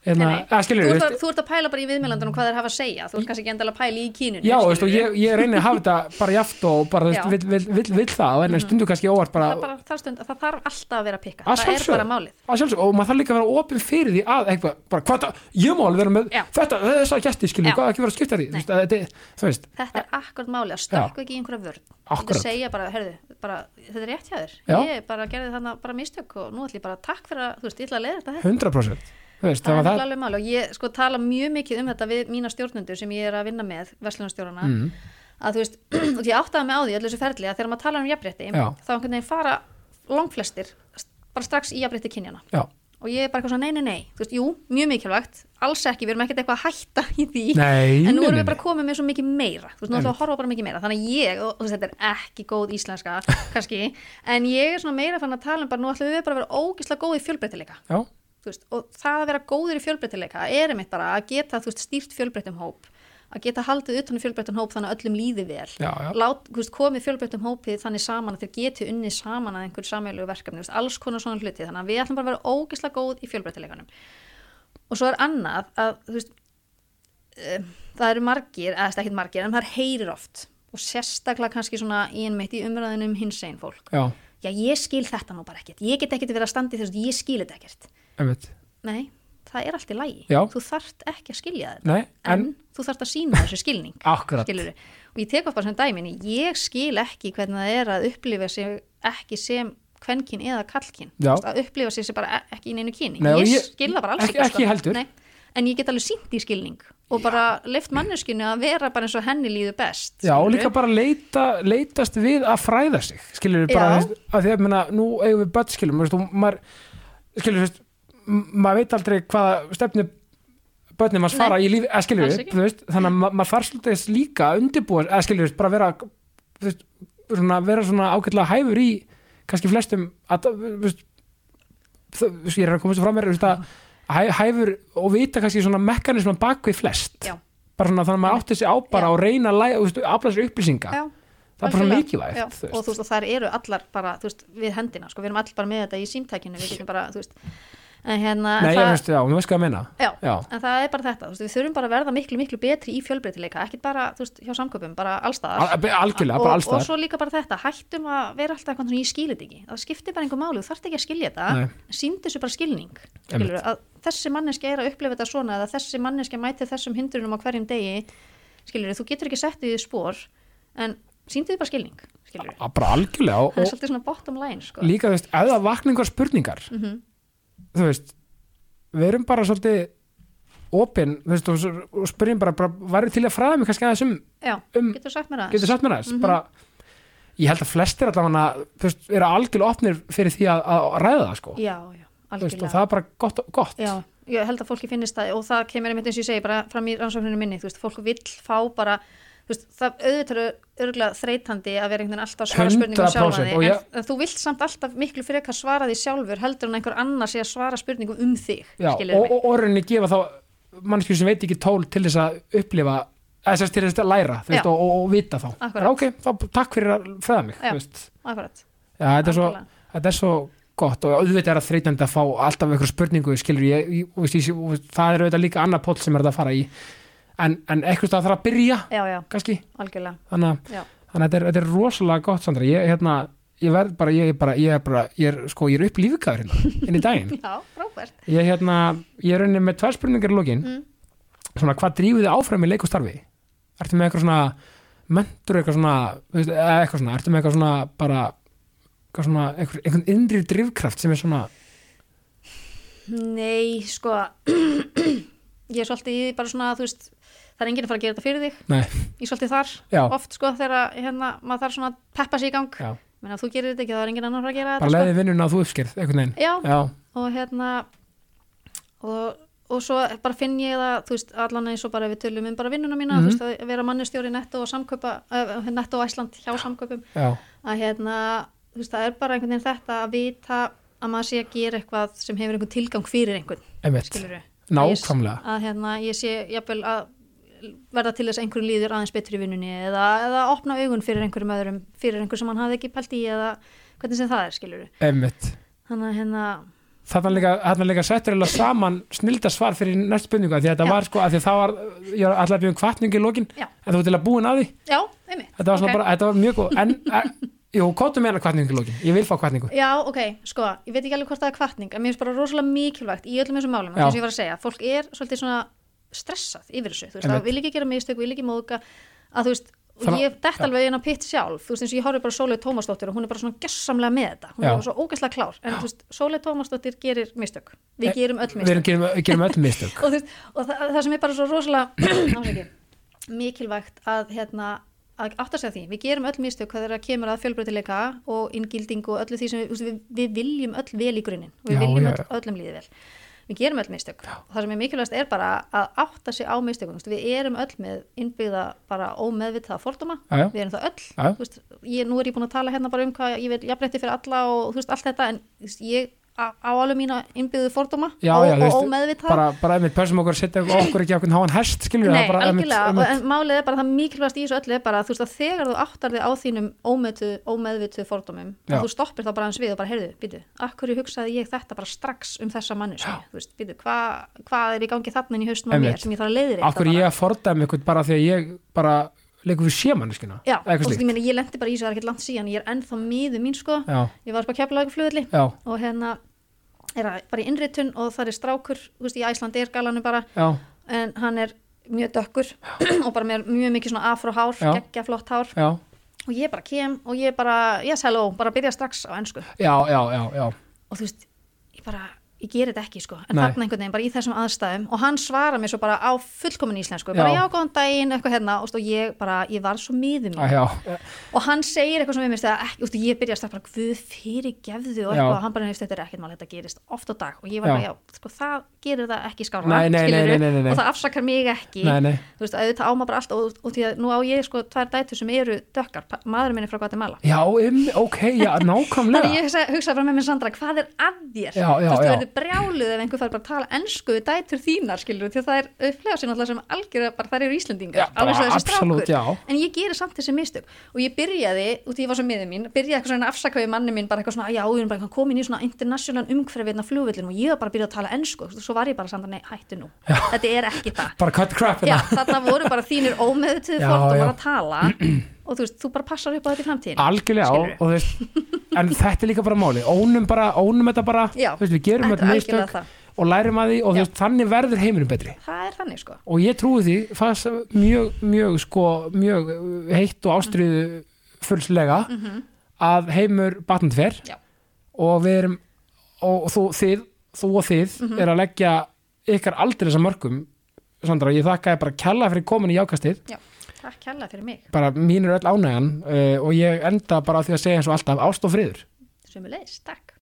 hérna, enna,
Nei, nei.
að
þú,
skilur
ert,
við,
að- þú ert að pæla bara í viðmjölandunum hvað þeir hafa að segja þú ert kannski ekki endala að pæla í kínunni
já, veist, og
skilurðu.
ég, ég reyni að hafa þetta bara jaft og bara, þú veist,
Já. Mm.
vill, vill, vill, vill það en stundu kannski óvart bara,
það, bara, það, stund, það þarf alltaf að vera að pikka
Að
það er
sjálfsögðu.
bara málið
að sjálfsög, og maður þarf líka að vera opinn fyrir því að, eitthvað, bara, hvað það, ég má alveg vera með
Já.
þetta, þess að gæsti, skilur,
Já.
við, hvað ekki vera að skipta því, þú veist, að þetta, er- þú veist,
þetta er akkurat máli að stökku ekki í einhverja vörn
Akkúrat.
Þú segja bara, herðu, bara, þetta er rétt hjá þér
Já.
ég bara gerði þarna bara mistök og nú ætlum ég bara takk fyrir að, þú veist, ég ætla að leiða þetta
100% þú veist, þannig
það er
að
nefnilega alveg máli og ég sko tala mjög mikið um þetta við mína stjórnundur sem ég er að vinna með verslunarstjórana
Mm.
að þú veist, [CLEARS THROAT] og ég áttaði mig á því í öllu þessu ferli að þegar maður talar um jafnrétti
Já.
þá einhvern veginn fara langflestir st- bara strax í jafnrétti kynjana
það, já
og ég er bara eitthvað svona nei, nei, nei, þú veist, jú, mjög mikilvægt alls ekki, við erum ekkert eitthvað að hætta í því
Nei,
en nú
nei,
erum
nei,
við bara
nei.
komið með svo mikið meira þú veist, nú erum við að horfa bara mikið meira, þannig að ég og, og þú veist, þetta er ekki
[LAUGHS]
góð íslenska, kannski en ég er svona meira fann að tala um bara nú ætlum við bara að vera ógislega góð í fjölbreytileika
já,
Þú veist, og það að vera góður í fjölbreytileika er einmitt bara að geta þú veist, stýrt fjölbreytum hóp að geta haldið utan fjölbreytum hóp þannig að öllum líði vel
já, já.
Lát, þú veist, komið fjölbreytum hópið þannig saman að þeir geti unnið saman að einhver samjölu verkefni, þú veist, alls konar svona hluti þannig að við ætlum bara að vera ógislega góð í fjölbreytileikanum og svo er annað að þú veist, um, það eru margir, eða þú veist, ekkert margir en það er heyrir oft og sérstaklega kannski svona í einmitt í umræðinum hins einn fólk
Já,
já ég skil þetta nú bara ekkert, ég get ekkert verið að standa í þessu, ég skil þetta ekkert
einmitt.
Nei, það er allt í lægi.
Já.
Þú þarft ekki að skilja þetta.
Nei,
En,
en,
þú þarft að sína þessu skilning.
akkurat.
Skilurðu. Og ég tek upp bara sem dæminni, ég skil ekki hvernig það er að upplifa sig ekki sem kvenkin eða kallkin.
Já.
Að upplifa sig sem bara e- ekki í neinu kyni.
Nei, og
ég,
ég-
skil það bara alls
ekki-
ekki. sko.
ekki heldur.
Nei, en ég get alveg sínt í skilning og bara leift manneskinu að vera bara eins og henni líður best.
Já, og
skilurðu.
líka bara leita, leitast við að fræða sig, skilur við bara,
Já.
þú veist, að því að minna, nú eigum við börn, skilur, veist, og maður, skilur, þú veist, m- maður veit aldrei hvaða stefnu börnum að fara í lífi, að skilur
alls
við,
ekki.
þú veist, þannig að ma- maður þarf svolítið líka að undirbúa, að skilur við, bara vera, þú veist, svona, vera svona ágætlega hæfur í kannski flestum að, veist, það, veist, ég er að komast fram mér veist, að hæ- hæfur og vita kannski svona mekanisman bak við flest
Já.
bara svona þannig að maður átti sig á bara
Já.
og reyna að læ- veist, afla sér upplýsinga
Já,
það er bara svona
algjörlega.
mikilvægt
Já,
þú veist.
og þú veist að þær eru allar bara þú veist, við hendina, sko, við erum allir bara með þetta í símtækinu við getum bara, þú veist en hérna,
Nei,
en
ég
það,
veist, já, þú veist hvað ég meina
já,
Já,
en það er bara þetta þú veist, við þurfum bara að verða miklu, miklu betri í fjölbreytileika ekkit bara, þú veist, hjá samköpum, bara allstaðar
Al- algjörlega, bara
og,
alls
og
það
svo líka bara þetta, hættum að vera alltaf eitthvað svona, ég skilir þetta ekki, það skiptir bara einhver máli þú þarft ekki að skilja
Nei.
þetta, sínd þessu bara skilning skilur, að þessi manneskja er að upplifa þetta svona eða þessi manneskja mætir þessum hindrunum á hverjum degi, skilur, þú getur ekki sett því spór, en síndi þið bara skilning, skilur,
Ah, bara algjörlega og,
það er
og
svolítið svona bottom line, sko
líka, þú veist, ef það vakna einhver spurningar
Mhm.
þú veist við erum bara svolítið opin, þú veist, og, svo- og spyrjum bara, bara værið til að fræða mig kannski aðeins um
já,
um-
getur sagt mér
getur
aðeins
sagt mér aðeins, bara ég held að flestir allavega þú veist, eru algjörlega opnir fyrir því að, að ræða það, sko,
já, já,
Þú veist, og
algjörlega
það er bara gott, gott.
Já, ég held að fólki finnist það og það kemur einmitt eins og ég segi bara fram í rannsókninu minni, þú veist, fólk vill fá bara þú veist, það auðvitað er örgulega þreytandi að vera einhvern veginn alltaf að
100%
svara spurningum sjálfa
og
þig,
ég-
en, en þú vilt samt alltaf miklu fyrir eitthvað svara því sjálfur heldur en einhver annar sé að svara spurningum um þig
Já,
skilurðu
og,
mig.
og orðinni gefa þá mannskjur sem veit ekki tól til þess að upplifa eða sem sagt til þess að læra þú veist,
Já.
og, og, og vita þá
Akkurat.
Bara, ok, þá, takk fyrir að fræða mig
Já.
þú veist.
Akkurat,
Já, þetta, er svo,
Algjörlega.
þetta er svo gott og auðvitað er að þreytandi að fá alltaf einhver spurningu skilur ég, ég, og veist, ég, og það er auðvitað líka annar pól sem er þetta að fara í en, en eitthvað það þarf að byrja
já, já,
kannski,
algjörlega
þannig að
já,
þannig að þetta er, þetta er rosalega gott Sandra ég, hérna, ég verð bara, ég er bara, ég er bara ég er, sko, ég er upplífikaður hérna inn í daginn
já, frábært
ég, hérna, ég er rauninni með tvær spurningar í lokin
Mm.
svona hvað drífið þið áfram í leik og starfi ertu með eitthvað svona mentur eitthvað svona, þú veist, eða eitthvað svona ertu með eitthvað svona bara eitthvað svona, einhver, einhvern innri drifkraft sem er svona
Nei, sko [CLEARS THROAT] ég er svolítið í bara svona, þú veist það er enginn að fara að gera þetta fyrir þig,
nei,
ég er svolítið þar
já,
oft sko þegar hérna, maður þarf svona að peppa sig í gang
já
menn að þú gerir þetta ekki þá er enginn annar að fara að gera
bara
þetta
leiði vinnuna að þú uppskerð, einhvern veginn
sko. já,
já,
og hérna og, og svo bara finn ég það þú veist, allan eins og bara ef við tölum um bara vinnuna mína,
Mhm.
þú veist, að vera mannustjóri netto og samkaupa, uh, netto og Æsland hjá samkaupum
já,
að hérna, þú veist, það er bara einhvern veginn þetta að vita að maður sé að gera eitthvað sem hefur einhvern tilgang fyrir einhvern
einmitt
skilur við,
nákvæmlega,
að hérna, ég sé jafnvel að verða til þess að einhverjum líður aðeins betur í vinnunni eða, eða opna augun fyrir einhverjum öðrum fyrir einhver sem hann hafði ekki pælt í eða hvernig sem það er skilur
einmitt
þannig að hérna,
þarna líka, þarna líka settur eiginlega saman snilda svar fyrir næst spurningu af því að þetta
Já.
var sko, af því að það var ég var alltaf byggjum kvartningi um í lokin
Já.
en þú var til að búin að því,
já, einmitt
þetta var,
Ok.
okay. bara, þetta var mjög góð en, e, jú, kóttu meina kvartningi í lokin ég vil fá kvartningu,
Já, ok, sko, ég veit ekki alveg hvort það er kvartning en mér finnst bara rosalega mikilvægt í öllum þessum málum
Já.
þess að ég var að segja, fólk er svolítið svona stressað yfir þessu, þú veist,
Einmitt.
það vil ekki gera mistök vil ekki móðga, að þú veist og
Þannig-
ég dett alveg inn á pitt sjálf, þú veist, eins og ég horfði bara á Sólveig Tómasdóttir og hún er bara svona gessamlega með þetta, hún
Já.
er bara svo ógæslega klár en þú veist, Sólveig Tómasdóttir gerir mistök við
Eh,
gerum öll
við
mistök
erum, gerum, gerum öll mistök
[LAUGHS] og, þú veist, og það, það sem er bara svo rosalega [CLEARS THROAT] ásæki, mikilvægt að hérna að átta sig að því, við gerum öll mistök hvað þeirra kemur að fjölbreytileika og inngildingu og öllu því sem við, þú veist, við, við viljum öll vel í grunninn og við
Já,
viljum
já,
öll,
já.
öllum líði vel við gerum öll mistök og það sem er mikilvægast er bara að átta sig á mistökum þú veist, við erum öll með innbyggða bara ómeðvitaða fordóma
Já, já.
við erum það öll
Já.
Þú veist, ég, nú er ég búin að tala hérna bara um hvað ég vil jafnrétti fyrir alla og þú veist allt þetta en þú veist, ég á á alveg mína innbyggðu fordóma
já,
og,
já, þú
og
veist,
ómeðvitaða
bara, bara einmitt pössum okkur að setja okkur ekki okkur háan hest skilur
Nei,
það bara
algjörlega, og-
einmitt,
en málið er bara það mikilvægast í þessu öllu er bara að þú veist að þegar þú áttar þig á þínum ómeðvitu, ómeðvitu fordómum
Já.
að þú stoppir þá bara hans við og bara heyrðu, býtu, akkur hugsaði ég þetta bara strax um þessa mannesku, þú veist, býtu, hva, hvað er í gangi þarna inn í haustum á
Einmitt.
mér sem ég þarf að leiðir
akkur ég að fordæmi eitthvað bara því að ég bara leikur við sémanneskina
Já, og
eitthvað
þú veist,
slíkt
ég meina, ég lendi bara í þessu, það er ekkert langt síðan, ég er ennþá miður mín, sko,
já,
ég var bara keflaðið flugulli
já,
og hérna er að- bara í innritun og það er strákur, þú veist, í Æslandi er galanu bara
já,
en hann er mjög dökkur [CLEARS THROAT] og bara með mjög mikið svona afróhár,
Já.
geggja flott hár
já
og ég bara kem og ég bara, yes hello, bara byrja strax á ennsku
já, já, já, já,
og þú veist, ég bara ég ger þetta ekki sko, en
Nei.
þarna einhvern veginn bara í þessum aðstæðum og hann svara mér svo bara á fullkomin íslensku, bara
Já.
já, góðan daginn eitthvað hérna, og þú veist, og ég bara, ég var svo miðum
Æ, já,
og hann segir eitthvað sem ég minnst eða ekki, úst, ég byrja að starf bara guð fyrir gefðu og
Já.
eitthvað, og hann bara nefnst þetta er ekkert mál, þetta gerist oft á dag og ég var
Já.
bara, já, sko, það gerir það ekki skára
Nei, nei, nei,
skilurðu,
nei, nei, nei.
og það afsakar mig ekki
nei, nei
þú veist, auðvitað á maður bara allt og, og því að nú á ég sko tvær dætur sem eru dökkar, pa- maðurinn minn er frá Guatemala
Já, um, ok,
[LAUGHS]
já,
þannig
nákvæmlega
ég hugsa, hugsa bara með mér Sandra, hvað er að þér
Já, já,
þú veist, þú
já.
verður brjáluð ef einhver fær bara að tala ensku við dætur þínar, skilur, því að það er upplega sér náttúrulega sem algjörða, bara þær eru Íslendingar
Já, bara
alveg svo þessi
absolutt,
strákur,
já.
en ég gerir samt þessi mistök og ég byrjaði, út í ég var svo miðið mín byrjaði eitthvað svona að afsaka við manni minn, bara eitthvað svona já, ég er bara komin í svona internasjónan umhverfi hérna á flugvöllunum og ég var bara að byrja að tala ensku svo var ég bara samt nei, hættu nú, þetta er ekki það
Bara cut crap
Já,
hérna
þarna voru bara þínir ómeðutuð
Já,
fordómar
já.
að
[CLEARS THROAT]
tala og þú veist, þú bara passar upp á þetta í framtíðin
Algjörlega, og, og þú veist, en þetta er líka bara máli Ónum bara, ónum þetta bara
Já.
þú veist, Við gerum
Þetta er
þetta
algjörlega
mistök og lærum að því og þú
Já.
veist, þannig verður heiminum betri
Það er þannig sko
og ég trúi því fannst mjög, mjög, sko, mjög heitt og ástriðu fullslega að heimur batnand fer
Mhm. Já.
og við erum og þú, þið, þú og þið
Mhm.
er að leggja ykkar aldrei þessar mörgum Sandra, ég þakka ég bara kjalla fyrir komin í jákastið
Já, takk kærlega fyrir mig
bara eh, mín er öll ánægjan uh, og ég enda bara á því að segja eins og alltaf ást og friður
Sumulegis, takk